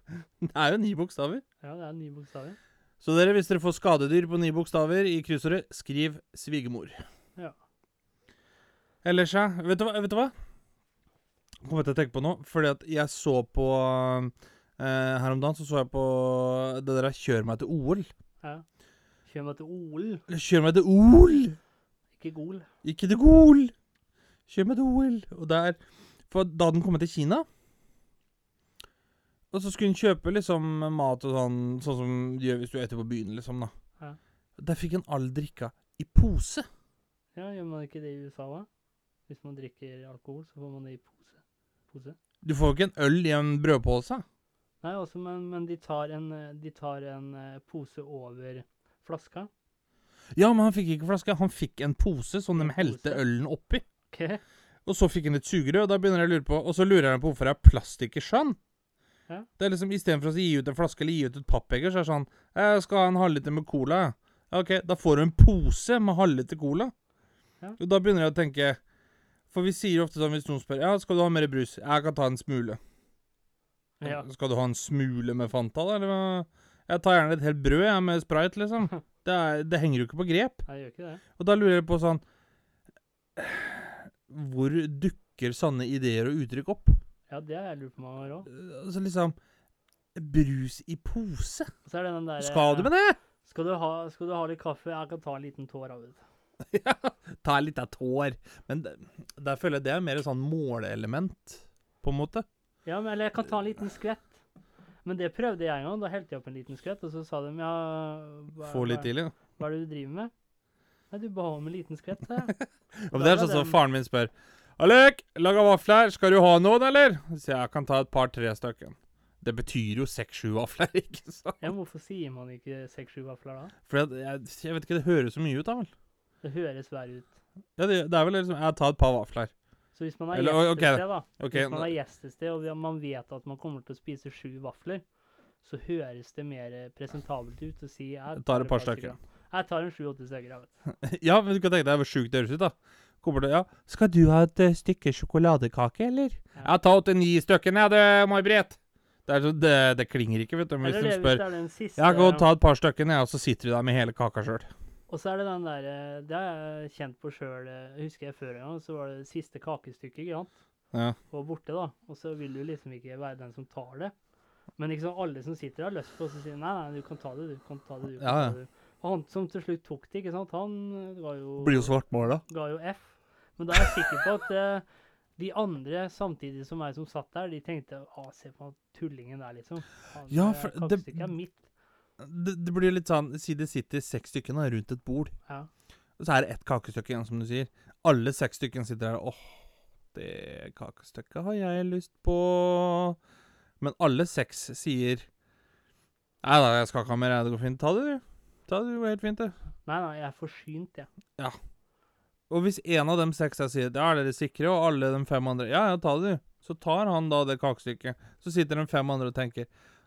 A: Det er jo ni bokstaver.
B: Ja, det er nye bokstaver.
A: Så dere, hvis dere får skadedyr på ni bokstaver i kryssordet, skriv 'svigermor'.
B: Ja.
A: Ellers, ja. Vet du hva? Vet du hva? Kommer jeg til å tenke på nå, fordi at jeg så på eh, Her om dagen så så jeg på det der 'Kjør meg til OL'.
B: Ja. Kjør meg til OL,
A: Kjør meg til OL!
B: ikke GOL.
A: Ikke til GOL! Kjør meg til OL! Og der For da hadde den kommet til Kina Og så skulle den kjøpe liksom mat og sånn, sånn som de gjør hvis du eter på byen, liksom, da.
B: Ja.
A: Der fikk han all drikka i pose.
B: Ja, gjør man ikke det i USA, da? Hvis man drikker alkohol, så får man det i pose. pose.
A: Du får jo ikke en øl i en brødpose.
B: Nei, også, men, men de tar en, eh, de tar en eh, pose over flaska.
A: Ja, men han fikk ikke flaske. Han fikk en pose som de
B: En
A: helte
B: pose.
A: ølen oppi.
B: Ok,
A: Og så fikk han et sugerør, og da begynner jeg å lure på Og så lurer jeg på hvorfor det er plastikk i sjøen.
B: Ja.
A: Det er liksom Istedenfor å gi ut en flaske eller gi ut et pappeger, så er det sånn Jeg skal ha en halvliter med cola. jeg». Ja, OK, da får du en pose med halvliter cola.
B: Ja.
A: Og da begynner jeg å tenke For vi sier ofte sånn hvis noen spør Ja, skal du ha mer brus? Jeg kan ta en smule.
B: Ja.
A: Skal du ha en smule med Fanta, da? Eller hva? Jeg tar gjerne et helt brød jeg, med sprite, liksom. Det, er, det henger jo ikke på grep.
B: Nei, jeg gjør ikke det.
A: Og da lurer jeg på sånn Hvor dukker sanne ideer og uttrykk opp?
B: Ja, det har jeg lurt på mange ganger òg.
A: Altså liksom Brus i pose?
B: Og så er det den derre
A: Skal du med det?
B: Skal du, ha, skal du ha litt kaffe? Jeg kan ta en liten tår av det.
A: Ta litt av tår. Men det- der føler jeg det er mer et sånn måleelement, på en måte.
B: Ja, men, eller jeg kan ta en liten skvett. Men det prøvde jeg en gang. Da helte jeg opp en liten skvett, og så sa de ja hva,
A: Få litt
B: hva,
A: til, ja.
B: hva er det du driver med? Nei, du ba om en liten skvett, sa jeg.
A: Ja, men Det er sånn som faren min spør. Alek, laga vafler. Skal du ha noen, eller? Så jeg kan ta et par-tre stykker. Det betyr jo seks-sju vafler, ikke sant?
B: Ja, men hvorfor sier man ikke seks-sju vafler da?
A: For jeg, jeg, jeg vet ikke, det høres så mye ut, da vel?
B: Det høres verre ut.
A: Ja, det, det er vel liksom Jeg tar et par vafler.
B: Så hvis man har
A: Eller,
B: gjest
A: ok,
B: et sted, da
A: Ok,
B: Hvis man har gjest et sted, og vi- man vet at man kommer til å spise sju vafler, så høres det mer eh, presentabelt ut å si
A: Jeg tar et par stykker.
B: Jeg tar en sju-åtte stykker. jeg vet.
A: Ja, men du kan tenke deg hvor sjukt det høres ut, da. Kommer det, ja. Skal du ha et eh, stykke sjokoladekake, eller?
B: Ja.
A: Jeg tar åtte-ni stykker, jeg, det, May-Britt. Det, er så- det, det klinger ikke, vet du, men
B: Eller
A: hvis de
B: det, hvis
A: spør.
B: det er den siste,
A: Jeg kan ta et par stykker, jeg, og så sitter de der med hele kaka sjøl.
B: og Og så er det den der eh, Det har jeg kjent på sjøl, husker jeg før en gang. Så var det siste kakestykket ikke sant?
A: Ja.
B: var borte, da. Og så vil du liksom ikke være den som tar det. Men liksom alle som sitter der, har lyst på å si nei, nei, du kan ta det, du kan ta det. du kan
A: Ja, ja.
B: ta det. Og han som til slutt tok det, ikke sant, han eh, var jo
A: Blir jo svartmåla.
B: ga jo F. Men da er jeg sikker på at eh, de andre samtidig som meg som satt der, de tenkte å, se på han tullingen der, liksom. Han,
A: Ja,
B: eh,
A: for det-
B: Kakestykket er mitt.
A: Det, det blir litt sånn Si det sitter seks stykker da, rundt et bord,
B: Ja.
A: og så er det ett kakestykke igjen, som du sier. Alle seks stykken sitter der Åh, det kakestykket har jeg lyst på. Men alle seks sier Nei da, jeg skal ikke ha mer. jeg, Det går fint. Ta det, du. Ta det, du går helt fint, det.
B: Nei, nei, jeg er forsynt, jeg.
A: Og hvis en av dem seks her sier Ja, er dere sikre? Og alle de fem andre Ja, ja, ta det, du. Så tar han da det kakestykket. Så sitter de fem andre og tenker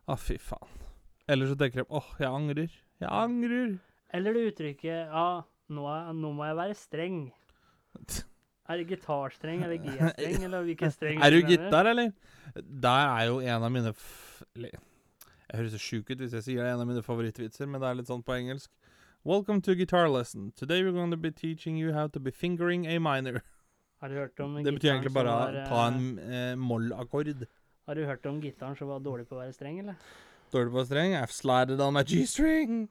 A: Å, fy faen. Eller så tenker de Åh, jeg angrer. Jeg angrer.
B: Eller det uttrykket ja, nå, er, nå må jeg være streng. Er det gitarstreng eller G-streng, eller hvilken streng?
A: Er du
B: mener?
A: gitar, eller? Der er jo en av mine f... Eller, jeg høres så sjuk ut hvis jeg sier det, en av mine favorittvitser, men det er litt sånn på engelsk. Welcome to guitar lesson. Today we're going to be teaching you how to be fingering a minor.
B: Har du hørt om
A: Det betyr
B: gitaren
A: egentlig
B: som
A: bare
B: var,
A: ta
B: eh,
A: en eh, moll-akkord.
B: Har du hørt om gitaren som var dårlig på å være streng, eller?
A: Står det på streng? I've slided on my G-string.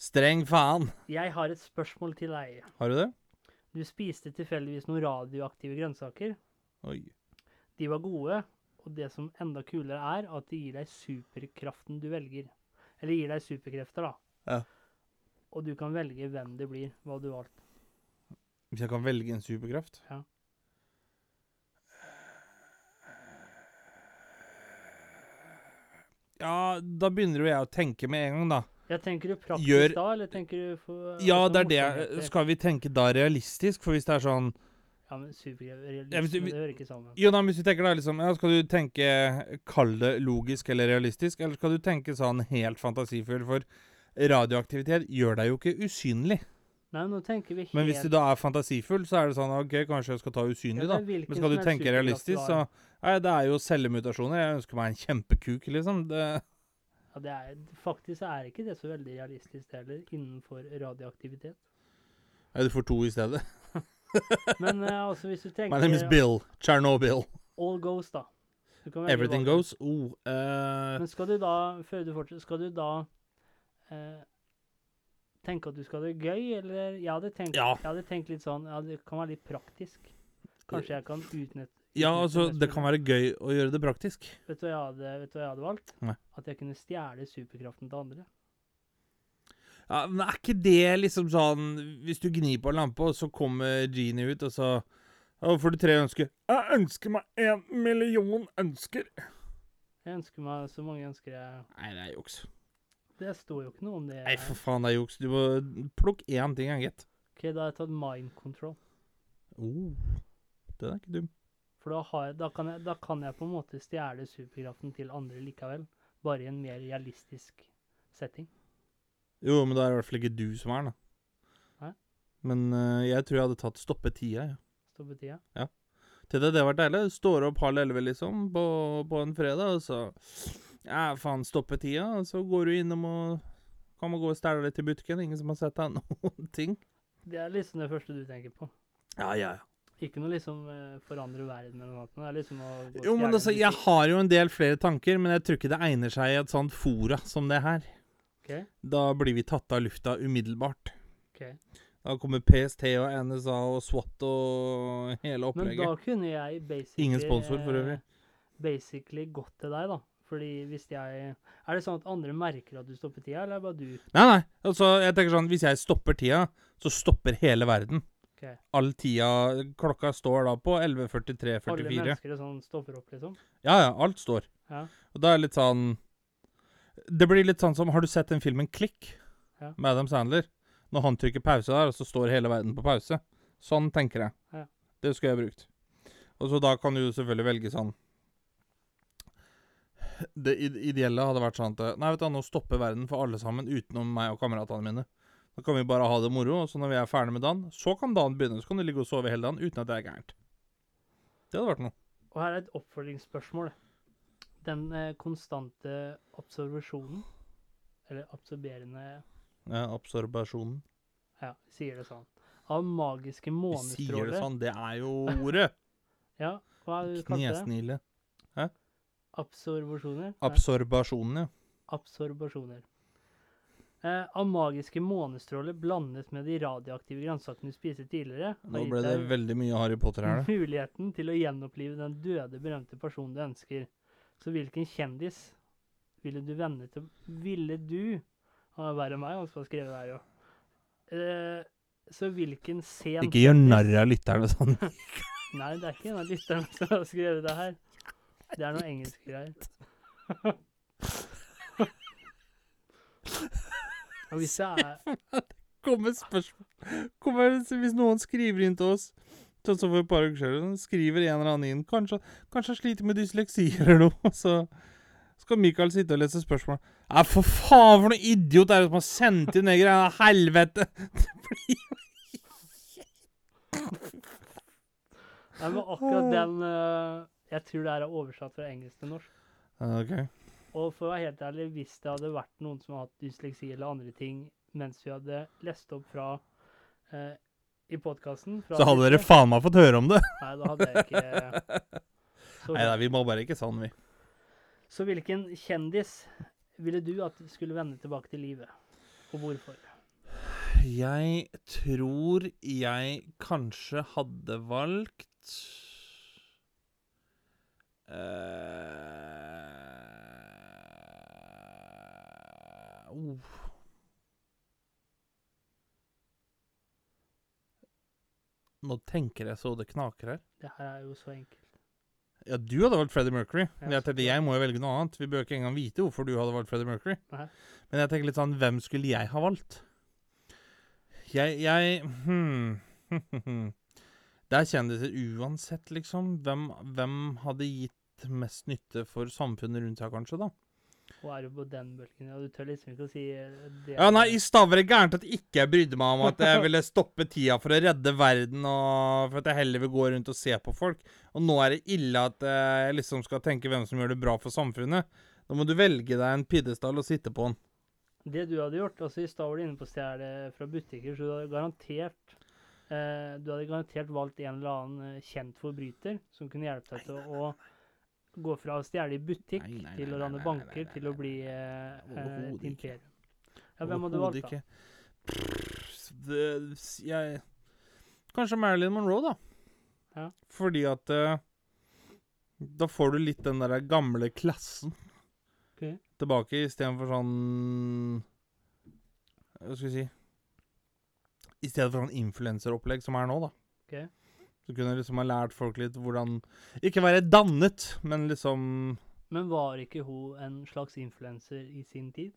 A: Streng faen.
B: Jeg har et spørsmål til deg.
A: Har du det?
B: Du spiste tilfeldigvis noen radioaktive grønnsaker.
A: Oi.
B: De var gode, og det som enda kulere er, at de gir deg superkraften du velger. Eller gir deg superkrefter, da.
A: Ja.
B: Og du kan velge hvem det blir, hva du valgte.
A: Hvis jeg kan velge en superkraft?
B: Ja.
A: Ja, da begynner jo jeg å tenke med en gang, da.
B: Jeg tenker du praktisk
A: Gjør-
B: da, eller tenker du for
A: Ja, det
B: altså
A: er det.
B: morsomheter?
A: jeg- Skal vi tenke da realistisk? For hvis det er sånn
B: Ja, men superkrefter
A: Ja, hvis du-
B: realisme, det hører ikke sammen.
A: Jo, nei, men hvis du tenker da liksom ja, Skal du tenke Kall det logisk eller realistisk, eller skal du tenke sånn helt fantasifull? For radioaktivitet gjør deg jo ikke usynlig.
B: Nei, nå tenker vi helt
A: Men hvis du da er fantasifull, så er det sånn OK, kanskje jeg skal ta usynlig, da. Men skal du tenke realistisk, så Nei, det er jo cellemutasjoner. Jeg ønsker meg en kjempekuk, liksom. Det
B: ja, det er, Faktisk er ikke det så veldig realistisk heller, innenfor radioaktivitet.
A: Nei, du får to i stedet.
B: Men eh, altså, hvis du
A: My name is
B: tenker
A: Bill. Chernobyl.
B: all goes, da Du kan velge
A: Everything
B: hva-
A: goes. Oh, eh,
B: Men skal du da, før du fortsetter, skal du da eh, tenke at du skal ha det gøy, eller Jeg hadde tenkt,
A: Ja.
B: jeg hadde tenkt litt sånn Ja, det kan være litt praktisk. Kanskje jeg kan utnytte
A: ja, altså, det kan være gøy å gjøre det praktisk.
B: Vet du hva jeg hadde, vet du hva jeg hadde valgt?
A: Nei.
B: At jeg kunne stjele superkraften til andre.
A: Ja, men er ikke det liksom sånn Hvis du gnir på en lampe, og så kommer Genie ut, og så «Ja, får du tre ønsker. Jeg ønsker meg en million ønsker.
B: Jeg ønsker meg så mange ønsker jeg
A: Nei, det er juks.
B: Det står jo ikke noe om det.
A: Nei, for faen, det er juks. Du må plukke én ting av gitt.
B: OK, da har jeg tatt mind control.
A: Oh, den er ikke dum.
B: For da, har jeg, da, kan jeg, da kan jeg på en måte stjele superkraften til andre likevel. Bare i en mer realistisk setting.
A: Jo, men da er det i hvert fall ikke du som er den, da.
B: Hæ?
A: Men eh, jeg tror jeg hadde tatt stoppe tida, jeg.
B: Står på tida.
A: Til det, det var deilig. Står opp halv elleve, liksom, på, på en fredag, og så Ja, faen, stoppe tida, og så går du innom og kan man gå og stæle litt i butikken. Ingen som har sett deg noen ting.
B: Det er liksom det første du tenker på.
A: Ja, ja, ja.
B: Ikke noe liksom eh, forandre verden eller noe sånt. men Det er liksom å gå og
A: Jo, men
B: stjele
A: altså,
B: en
A: jeg
B: butikk.
A: har jo en del flere tanker, men jeg tror ikke det egner seg i et sånt fora som det her.
B: Ok,
A: Da blir vi tatt av lufta umiddelbart.
B: ok.
A: Da kommer PST og NSA og SWAT og hele
B: Men da
A: opplegget.
B: kunne jeg basically
A: Ingen sponsor for øvrig.
B: eh, Basically gått til deg, da. Fordi hvis jeg Er det sånn at andre merker at du stopper tida, eller er det bare du?
A: Nei, nei. Altså, jeg tenker sånn, hvis jeg stopper tida, så stopper hele verden.
B: Ok.
A: All tida Klokka står da på
B: Alle
A: 11.43,44.
B: mennesker og sånn stopper opp, liksom?
A: Ja, ja, alt står.
B: Ja.
A: Og da er det litt sånn Det blir litt sånn som Har du sett den filmen Klikk?
B: Ja.
A: Med Adam Sandler. Når han trykker pause der, og så står hele verden på pause. Sånn tenker jeg.
B: Ja.
A: Det skulle jeg brukt. Og så da kan du jo selvfølgelig velge sånn Det id- ideelle hadde vært sånn at Nei, vet du, hva, nå stopper verden for alle sammen utenom meg og kameratene mine. Da kan vi bare ha det moro, og så når vi er ferdig med dagen, så kan dagen begynne. Så kan du ligge og sove hele dagen uten at det er gærent. Det hadde vært noe.
B: Og her er et oppfølgingsspørsmål. Den eh, konstante absorbersjonen, eller absorberende
A: Ja, absorbasjonen.
B: Ja, sier det sånn. Av magiske
A: Vi sier det
B: månestråler.
A: sånn, det er jo ordet!
B: Ja, hva er det du kalte det?
A: Knesnile.
B: Absorbasjoner? Nei,
A: Absorbasjonen, ja.
B: Absorbasjoner. Eh, av magiske månestråler blandet med de radioaktive grønnsakene du spiste tidligere,
A: Nå ble det veldig mye Harry Potter her, da.
B: muligheten til å gjenopplive den døde, berømte personen du ønsker. Så hvilken kjendis ville du vende til Ville du Han er verre enn meg, han som har skrevet det her, jo. Eh, så hvilken sen
A: Ikke gjør narr av lytterne sånn.
B: Nei, det er ikke en av lytterne som har skrevet det her. Det er noe engelske greier. Og hvis jeg er
A: Kommer spørsmål Kommer, Hvis noen skriver inn til oss Sånn som for et par uker siden, skriver en eller annen inn Kanskje kanskje han sliter med dysleksi eller noe, og så skal Michael sitte og lese spørsmål. Nei, for faen, for noen idiot er det som har sendt inn det greia? Helvete!
B: Nei, men akkurat den eh, Jeg tror det her er oversatt fra engelsk til norsk.
A: OK.
B: Og for å være helt ærlig, hvis det hadde vært noen som har hatt dysleksi eller andre ting mens vi hadde lest opp fra eh, i podkasten
A: Så hadde dere faen meg fått høre om det.
B: Nei, da hadde jeg ikke Så-
A: Nei da, vi må bare ikke sånn, vi.
B: Så hvilken kjendis ville du at skulle vende tilbake til livet, og hvorfor?
A: Jeg tror jeg kanskje hadde valgt eh, oh. Nå tenker jeg så det knaker her.
B: Det her er jo så enkelt.
A: Ja, du hadde valgt Freddie Mercury. Men
B: Ja,
A: jeg tenkte, jeg må jo velge noe annet. Vi bør ikke engang vite hvorfor du hadde valgt Freddie Mercury.
B: Nei.
A: Men jeg tenker litt sånn, hvem skulle jeg ha valgt? Jeg, jeg hmm. Det er kjendiser uansett, liksom. Hvem, hvem hadde gitt mest nytte for samfunnet rundt seg, kanskje, da?
B: Og er jo på den bølgen. Og du tør liksom ikke å si eh, det.
A: Ja, nei, i Stavre gærent at ikke jeg brydde meg om at jeg ville stoppe tida for å redde verden, og for at jeg heller vil gå rundt og se på folk. Og nå er det ille at eh, jeg liksom skal tenke hvem som gjør det bra for samfunnet. Da må du velge deg en pidestall og sitte på den.
B: Det du hadde gjort Altså, i stad var du inne på å stjele fra butikker, så du hadde garantert eh, Du hadde garantert valgt en eller annen eh, kjent forbryter som kunne hjelpe deg til å gå fra å stjele i butikk
A: Nei, nei,
B: til
A: nei,
B: å
A: nei, nei,
B: rane
A: nei,
B: banker
A: nei,
B: til å
A: nei,
B: bli eh, eh,
A: Overhodet ikke.
B: et imperium. Ja, hvem hadde du
A: Overhodet
B: valgt, da?
A: ikke. Pff, det- s- Jeg Kanskje Marilyn Monroe, da.
B: Ja.
A: Fordi at eh, Da får du litt den der gamle klassen
B: Ok.
A: tilbake istedenfor sånn Hva skal vi si I stedet for sånn influenseropplegg som er nå, da.
B: Ok.
A: Så kunne jeg liksom ha lært folk litt hvordan Ikke være dannet, men liksom
B: Men var ikke hun en slags influenser i sin tid?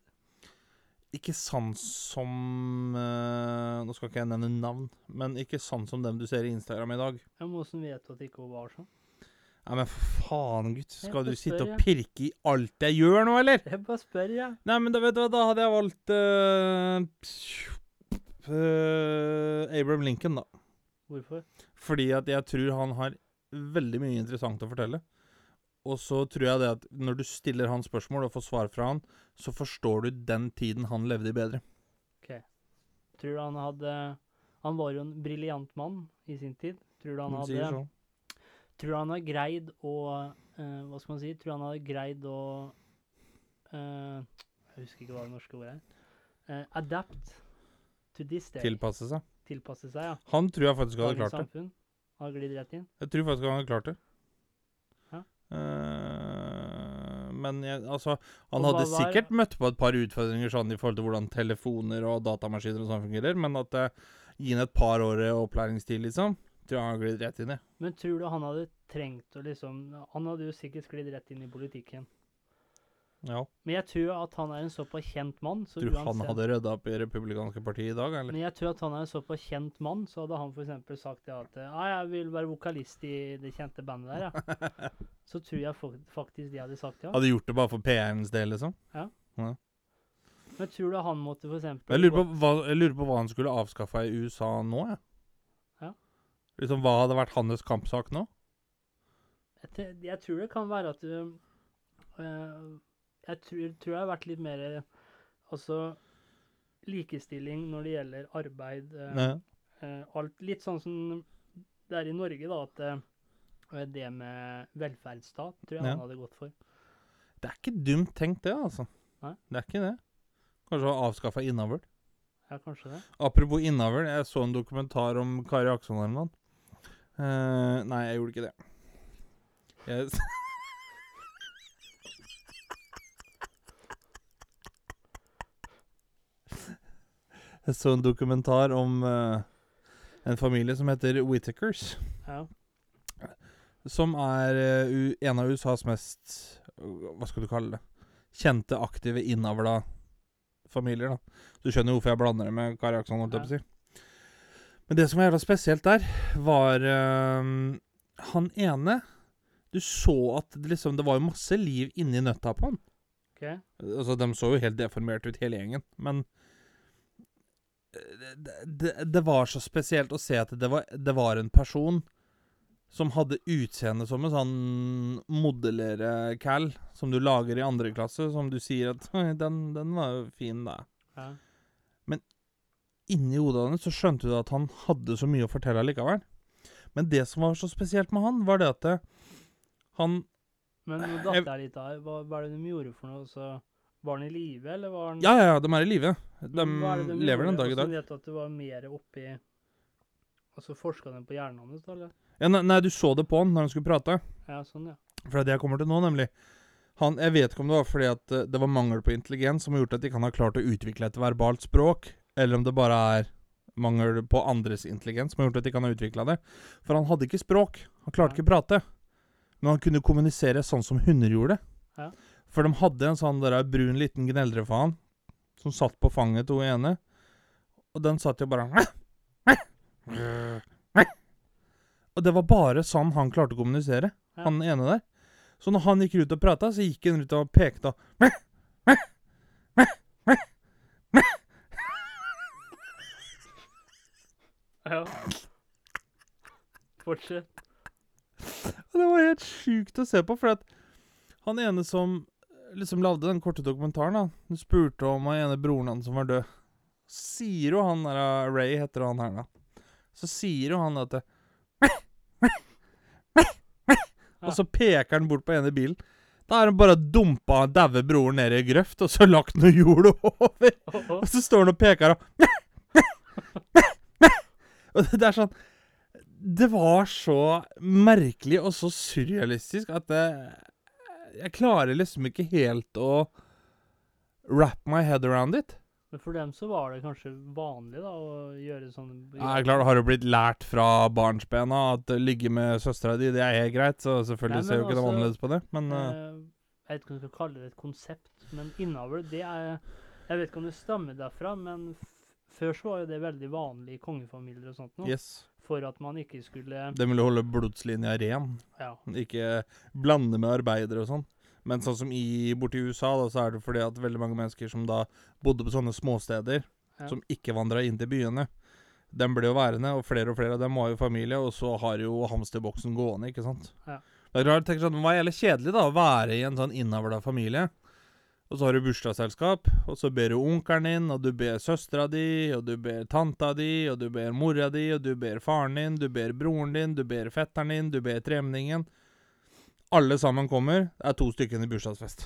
A: Ikke sånn som eh, Nå skal ikke jeg nevne navn, men ikke sånn som dem du ser i Instagram i dag.
B: Ja, men Åssen vet du at ikke hun var sånn?
A: Nei, men for faen, gutt. Skal du
B: bare
A: sitte
B: spør,
A: og
B: jeg.
A: pirke i alt jeg gjør nå, eller?
B: Jeg bare spør, jeg.
A: Nei, men da vet du hva, da hadde jeg valgt eh, eh, Abraham Lincoln, da.
B: Hvorfor?
A: Fordi at jeg tror han har veldig mye interessant å fortelle. Og så tror jeg det at når du stiller han spørsmål og får svar fra han, så forstår du den tiden han levde i bedre.
B: Tror du han hadde Han var jo en briljant mann i sin tid. Tror du han
A: Han
B: hadde
A: sier sånn.
B: Tror du han har greid å eh, Hva skal man si? Tror du han hadde greid å eh, Jeg husker ikke hva det norske ordet er. Eh, adapt to this day.
A: Tilpasse seg.
B: Tilpasse seg, ja.
A: Han tror jeg faktisk hadde
B: Dagens
A: klart det.
B: samfunn. Han har glidd rett inn.
A: Jeg tror faktisk han hadde klart det.
B: Ja.
A: Eh, men jeg, altså Han
B: Og hva
A: hadde
B: var-
A: sikkert møtt på et par utfordringer sånn i forhold til hvordan telefoner og datamaskiner og sånn fungerer, men at eh, gi han et par år eh, opplæringstid, liksom, tror jeg han glir rett inn i.
B: Men tror du han hadde trengt å liksom Han hadde jo sikkert sklidd rett inn i politikken.
A: Ja.
B: Men jeg tror at han er en såpass kjent mann, så
A: Tror du han
B: uansett-
A: hadde rydda opp i Republikanske partiet i dag, eller?
B: Men jeg tror at han er en såpass kjent mann, så hadde han f.eks. sagt det at ja, jeg vil være vokalist i det kjente bandet der, ja. Så tror jeg fak- faktisk de hadde sagt ja.
A: Hadde gjort det bare for PR-ens del, liksom?
B: Men tror du han måtte f.eks.
A: Jeg lurer, på hva, jeg lurer på hva han skulle avskaffa i USA nå, jeg.
B: Ja.
A: Liksom, hva hadde vært hans kampsak nå?
B: Jeg, te- jeg tror det kan være at øh, du eh, Jeg tror, tror jeg har vært litt mer øh, Altså likestilling når det gjelder arbeid. eh,
A: Ja.
B: eh, alt. Litt sånn som det er i Norge, da, at eh, det med velferdsstat tror jeg
A: Ja.
B: han hadde gått for.
A: Det er ikke dumt tenkt, det, altså.
B: Nei.
A: Det er ikke det. Kanskje å avskaffe innavl.
B: Ja, kanskje det.
A: Apropos innavl, jeg så en dokumentar om Kari Akson her om dagen. Eh, nei, jeg gjorde ikke det. Jeg s- Jeg så en dokumentar om eh, en familie som heter Whittakers.
B: Ja.
A: som er eh, u- en av USAs mest øh, Hva skal du kalle det? Kjente, aktive, innavla familier. da. Du skjønner jo hvorfor jeg blander det med Kari Akson. holdt jeg på å si. Men det som var jævla spesielt der, var eh, han ene Du så at det liksom, det var jo masse liv inni nøtta på han.
B: OK.
A: Altså, De så jo helt deformerte ut, hele gjengen. Men eh, det, det, det var så spesielt å se at det var, det var en person som hadde utseende som en sånn modellere-cal som du lager i andre klasse, som du sier at «Oi, den, 'Den var jo fin, da'.
B: Ja.
A: Inni hodet hans så skjønte du at han hadde så mye å fortelle likevel. Men det som var så spesielt med han, var det at det, han
B: Men nå
A: Jeg-
B: datt jeg litt av. Hva, hva er det de gjorde for noe? Så, var han i live, eller var han
A: Ja, ja, ja, de er i live. De
B: Men hva er det
A: lever den
B: gjorde?
A: dag i
B: Altså,
A: dag.
B: vet du at det var mer oppi Og så forska de på hjernen hans, da? eller?
A: Ja, nei, nei, du så det på han når han skulle prate.
B: Ja, sånn, ja.
A: For det er det jeg kommer til nå, nemlig. Han, jeg vet ikke om det var fordi at eh, det var mangel på intelligens som har gjort at de ikke har klart å utvikle et verbalt språk, eller om det bare er mangel på andres intelligens som har gjort at de ikke har utvikla det. For han hadde ikke språk. Han klarte ikke å prate. Men han kunne kommunisere sånn som hunder gjorde.
B: Ja.
A: For de hadde en sånn der brun liten gneldrefaen som satt på fanget til hun ene. Og den satt jo bare Og det var bare sånn han klarte å kommunisere,
B: Ja.
A: han ene der. Så når han gikk ut og prata, så gikk han ut og pekte og
B: ja. Fortsett.
A: Og det var helt sjukt å se på, for at han ene som liksom lagde den korte dokumentaren, da, hun spurte om han ene broren hans som var død. Så sier jo han der uh, Ray heter han her, da. Så sier jo han at det- Og så peker han bort på ene bilen. Da har han bare dumpa daue broren ned i ei grøft, og så lagt noe jord over.
B: Å, å.
A: Og så står han og peker og Og det er sånn Det var så merkelig og så surrealistisk at det, jeg klarer liksom ikke helt å wrap my head around it.
B: Men for dem så var det kanskje vanlig da, å gjøre sånn- sånne
A: Ja, klart, Har du blitt lært fra barnsbena at å ligge med søstera di, det er helt greit? Så selvfølgelig
B: Nei, men
A: ser jo ikke de
B: altså,
A: annerledes på det, men eh,
B: Eh, Jeg vet ikke om du skal kalle det et konsept, men innavl, det er Jeg vet ikke om det stammer derfra, men f før så var jo det veldig vanlig i kongefamilier og sånt noe.
A: yes.
B: For at man ikke skulle
A: De ville holde blodslinja ren,
B: Ja.
A: Sånn, ikke blande med arbeidere og sånn. Men sånn som i, borti USA, da, så er det fordi at veldig mange mennesker som da bodde på sånne småsteder,
B: Ja.
A: som ikke vandra inn til byene, de ble jo værende, og flere og flere av dem var jo familie, og så har jo hamsterboksen gående, ikke sant.
B: Ja.
A: Det er klart, jeg tenker sånn, Det var jævlig kjedelig da, å være i en sånn innavla familie. Og så har du bursdagsselskap, og så ber du onkelen din, og du ber søstera di, og du ber tanta di, og du ber mora di, og du ber faren din, du ber broren din, du ber fetteren din, du ber tremningen. Alle sammen kommer. Det er to stykker i bursdagsfest.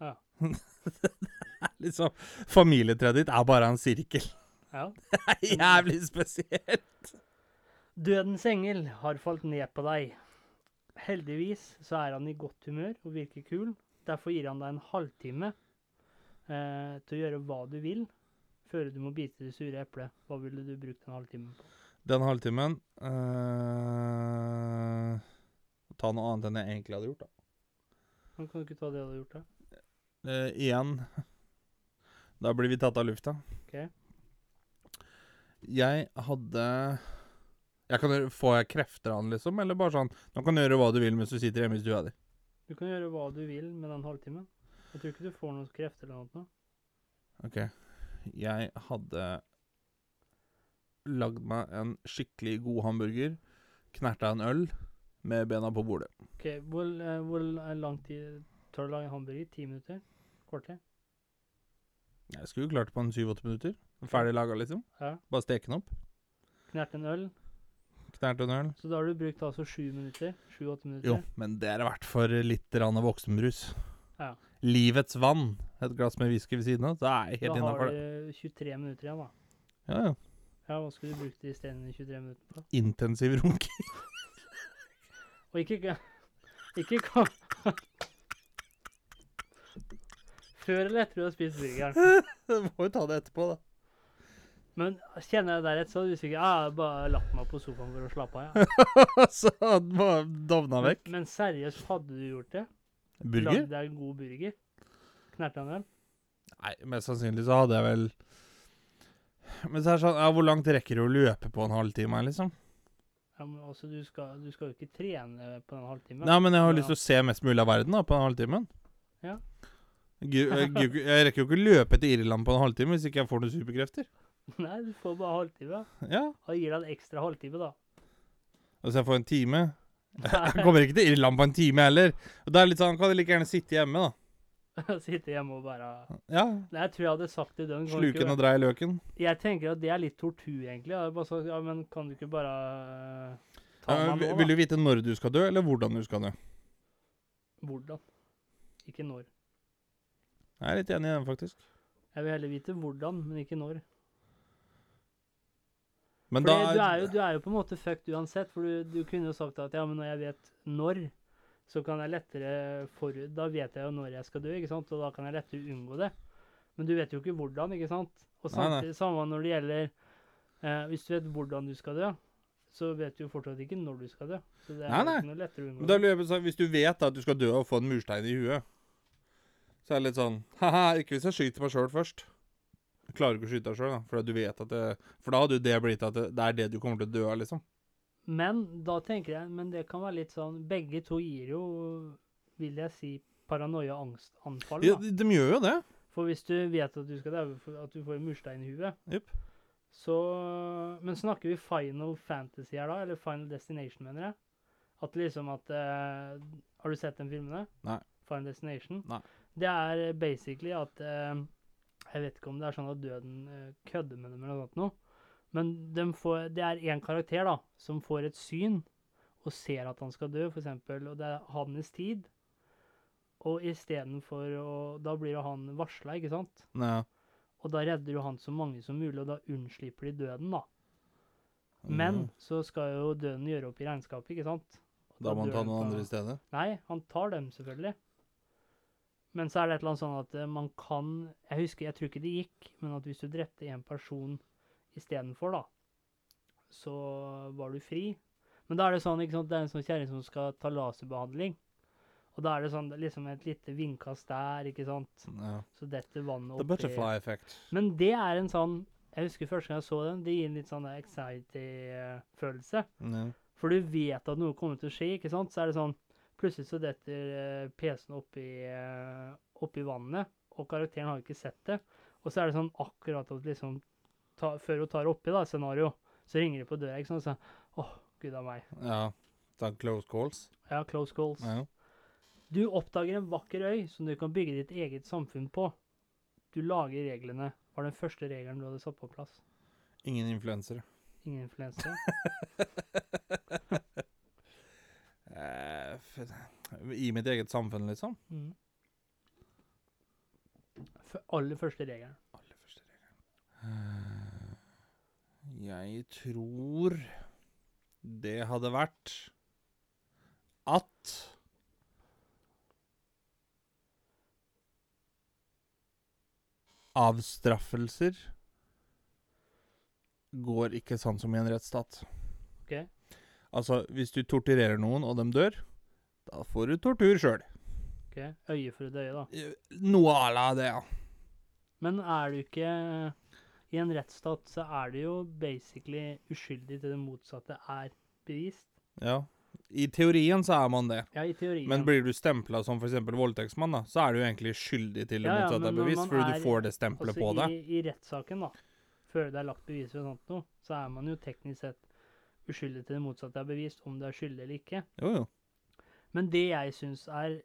B: Ja.
A: Det er liksom Familietreet ditt er bare en sirkel.
B: ja.
A: Det er jævlig spesielt.
B: Dødens engel har falt ned på deg. Heldigvis så er han i godt humør og virker kul. Derfor gir han deg en halvtime eh, til å gjøre hva du vil, før du må bite det sure eplet. Hva ville du brukt en halvtime på?
A: Den halvtimen eh, Ta noe annet enn jeg egentlig hadde gjort, da.
B: Kan du ikke ta det du har gjort, da?
A: Eh, igjen Da blir vi tatt av lufta.
B: Ok.
A: Jeg hadde jeg kan, gjøre- Får jeg krefter av den, liksom? Eller bare sånn Nå kan du gjøre hva du vil mens du sitter hjemme i stua di.
B: Du kan gjøre hva du vil med den halvtimen. Jeg tror ikke du får noen krefter eller noe. nå.
A: Jeg hadde lagd meg en skikkelig god hamburger, knerta en øl med bena på bordet.
B: Ok, Hvor, eh, hvor lang tid tar det å lage en hamburger? Ti minutter? Kvarter?
A: Jeg skulle jo klart det på en syv-åtte minutter. Ferdig laga, liksom.
B: Ja.
A: Bare steke den opp.
B: Knert en øl.
A: Knert en øl.
B: Så da har du brukt altså sju minutter. Sju-åtte minutter.
A: Jo, men det er verdt for litt rann av voksenbrus.
B: Ja.
A: Livets vann. Et glass med whisky ved siden av. Det er
B: Da
A: helt innafor,
B: har
A: det.
B: du 23 minutter igjen, da.
A: Ja, ja.
B: Ja, Hva skulle du brukt de isteden 23 minutter på?
A: Intensiv runk.
B: Og ikke ga- Ikke kom Før eller etter du har spist burgeren.
A: Må jo ta det etterpå, da.
B: Men kjenner jeg deg rett, så hadde du sikkert ja, jeg bare lagt meg på sofaen for å slappe av. Ja.
A: Så han bare dovna
B: Men,
A: vekk.
B: men seriøst, hadde du gjort det?
A: Burger?
B: Lagd deg en god burger? Knerta den?
A: Nei, mest sannsynlig så hadde jeg vel Men så er det sånn, ja, hvor langt rekker du å løpe på en halvtime, liksom?
B: Ja, men altså, du skal, du skal jo ikke trene på den halvtimen.
A: Nei, men jeg har
B: Ja.
A: lyst til å se mest mulig av verden da, på en halvtime.
B: Ja.
A: Gu- Jeg gu- jeg rekker jo ikke å løpe til Irland på en halvtime hvis ikke jeg får noen superkrefter.
B: Nei, du får bare halvtime.
A: Ja,
B: Og gir deg en ekstra halvtime, da.
A: Altså, jeg får en time. Jeg kommer ikke til Irland på en time heller. Og da er det litt sånn, kan jeg like gjerne sitte hjemme, da.
B: Sitte hjemme og bare
A: Ja,
B: Nei, jeg tror jeg hadde sagt det den gangen.
A: Sluken og drei løken.
B: Jeg tenker at det er litt tortur, egentlig. Jeg hadde bare sagt, ja, men kan du ikke bare eh, ta
A: Ja,
B: meg
A: vil-
B: nå,
A: vil du vite når du skal dø, eller hvordan du skal dø?
B: da? Hvordan? Ikke når.
A: Jeg er litt enig i den, faktisk.
B: Jeg vil heller vite hvordan, men ikke når.
A: Men
B: For
A: da
B: du, er jo, du er jo på en måte fucked uansett, for du, du kunne jo sagt at ja, men når jeg vet når, så kan jeg lettere for... Da vet jeg jo når jeg skal dø, ikke sant? Og da kan jeg lettere unngå det. Men du vet jo ikke hvordan, ikke sant? Og
A: Nei, nei.
B: samtidig, samme når det gjelder eh, Hvis du vet hvordan du skal dø, så vet du jo fortsatt ikke når du skal dø. Så det er
A: Nei,
B: jo
A: nei.
B: ikke noe lettere å unngå.
A: Men Da lurer jeg på sånn, Hvis du vet da at du skal dø og få en murstein i huet, så er det litt sånn Haha, ikke hvis jeg skyter meg sjøl først. Jeg klarer ikke å skyte deg sjøl, da. For, du vet at det, for da hadde jo det blitt at det, det er det du kommer til å dø av, liksom.
B: Men da tenker jeg Men det kan være litt sånn Begge to gir jo, vil jeg si, paranoia og angstanfall.
A: Ja,
B: Da.
A: de, de gjør jo det.
B: For hvis du vet at du skal daue for- at du får en murstein i huet,
A: Jupp.
B: så Men snakker vi Final Fantasy her, da? Eller Final Destination, mener jeg? At liksom at eh, Har du sett den filmen? der?
A: Nei.
B: Final Destination?
A: Nei.
B: Det er basically at eh, Jeg vet ikke om det er sånn at døden eh, kødder med dem eller noe sånt noe. Men dem får, det er én karakter da, som får et syn og ser at han skal dø, for eksempel, og det er hans tid. Og istedenfor å Da blir jo han varsla, ikke sant?
A: Nei.
B: Og da redder jo han så mange som mulig, og da unnslipper de døden, da.
A: Mhm. Mm,
B: Men så skal jo døden gjøre opp i regnskapet, ikke sant? Og
A: Da må man
B: dør
A: ta
B: de
A: noen
B: på-
A: andre i stedet.
B: Nei, han tar dem selvfølgelig. Men så er det et eller annet sånn at eh, man kan Jeg husker, jeg tror ikke det gikk, men at hvis du drepte en person istedenfor, da, så var du fri. Men da er det sånn, ikke sant, det er en sånn kjerring som skal ta laserbehandling. Og da er det sånn, det er liksom et lite vindkast der, ikke sant.
A: Ja.
B: Så detter vannet
A: The
B: oppi
A: butterfly effect.
B: men det er en sånn Jeg husker første gang jeg så den, det gir en litt sånn anxiety-følelse.
A: Ja.
B: For du vet at noe kommer til å skje, ikke sant? Så er det sånn Plutselig så detter eh, PC-en oppi, eh, oppi vannet, og karakteren har ikke sett det. Og så er det sånn akkurat at liksom ta, Før hun tar oppi, da, scenario, så ringer det på døra, ikke sant? Og så Åh, gud a meg.
A: ja. Ta close calls.
B: Ja, close calls.
A: Ja.
B: Du oppdager en vakker øy som du kan bygge ditt eget samfunn på. Du lager reglene, var den første regelen du hadde satt på plass.
A: Ingen influensere.
B: Ingen influenser.
A: Eh, f- I mitt eget samfunn, liksom.
B: Mm. F- aller første regelen.
A: Aller første regelen. Eh, Jeg tror det hadde vært at Avstraffelser går ikke sånn som i en rettsstat.
B: Ok.
A: Altså, hvis du torturerer noen, og de dør, da får du tortur sjøl.
B: ok? Øye for et øye, da.
A: Noe à la det, ja.
B: Men er du ikke eh, I en rettsstat så er du jo basically uskyldig til det motsatte er bevist.
A: ja. I teorien så er man det.
B: Ja, i teorien.
A: Men blir du stempla som f.eks. voldtektsmann, da, så er du jo egentlig skyldig til det
B: Ja, ja,
A: motsatte
B: men
A: er
B: når
A: bevis,
B: man
A: fordi
B: er-
A: du får det stempelet på deg.
B: Altså, i, i rettssaken, da, før det er lagt bevis for sånt noe, så er man jo teknisk sett uskyldig til det motsatte er bevist, om du er skyldig eller ikke.
A: Jo, jo.
B: Men det jeg syns er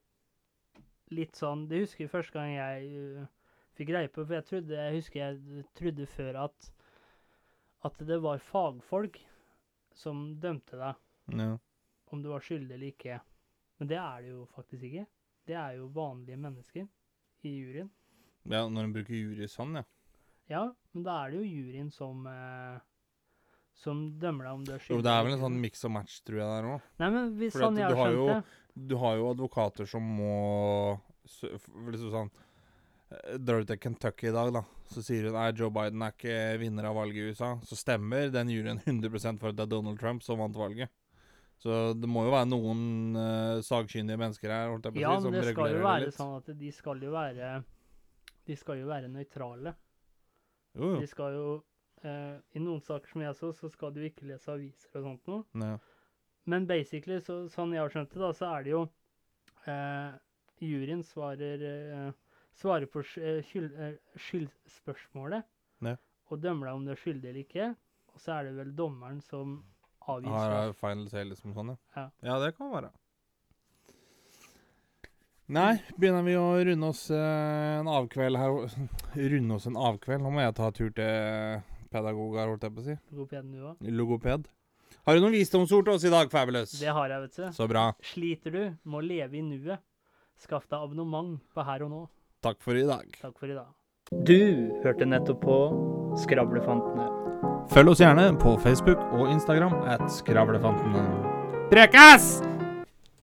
B: litt sånn Det husker jeg første gang jeg eh, fikk greie på, for jeg trodde, jeg husker jeg trodde før at, at det var fagfolk som dømte deg,
A: Ja.
B: om du var skyldig eller ikke. Men det er det jo faktisk ikke. Det er jo vanlige mennesker i juryen.
A: ja, når en bruker jury sånn, ja.
B: Ja, men da er det jo juryen som, eh, som dømmer deg om du er skyldig.
A: Jo, det er
B: eller
A: vel en
B: ikke.
A: sånn mix og match, tror jeg, der òg.
B: Nei, men hvis
A: Fordi at
B: sånn jeg
A: du
B: har
A: har
B: skjønt
A: jo-
B: det
A: Du har jo advokater som må sø- f- liksom sånn eh, Drar du til Kentucky i dag, da, så sier hun nei, Joe Biden er ikke vinner av valget i USA. Så stemmer den juryen 100 for at det er Donald Trump som vant valget. Så det må jo være noen eh, sagkyndige mennesker her. Holdt jeg på å
B: Ja,
A: si, som
B: men det skal jo
A: regulerer
B: være
A: litt.
B: sånn at de skal jo være De skal jo være nøytrale.
A: Jo, jo.
B: De skal jo eh, I noen saker som jeg så, så skal du ikke lese aviser og sånt noe.
A: Ja.
B: Men basically, så, sånn jeg har skjønt det, da, så er det jo eh, Juryen svarer eh, Svarer på sk- eh, skyld, eh, skyldspørsmålet
A: Ja.
B: og dømmer deg om du er skyldig eller ikke. Og så er det vel dommeren som avgir
A: Her
B: straff.
A: er final say, liksom sånn, ja.
B: Ja.
A: det kan være. Nei, begynner vi å runde oss eh, en avkveld her Runde oss en avkveld? Nå må jeg ta tur til pedagog her, holdt jeg på å si.
B: Logopeden du òg.
A: Logoped. Har du noen visdomsord til oss i dag, Fabulous?
B: Det har jeg, vet du.
A: Så bra.
B: Sliter du med å leve i nuet? Skaff deg abonnement på Her og nå.
A: Takk for i dag.
B: Takk for i dag. Du hørte nettopp på Skravlefantene.
A: Følg oss gjerne på Facebook og Instagram at Skravlefantene. Prekes!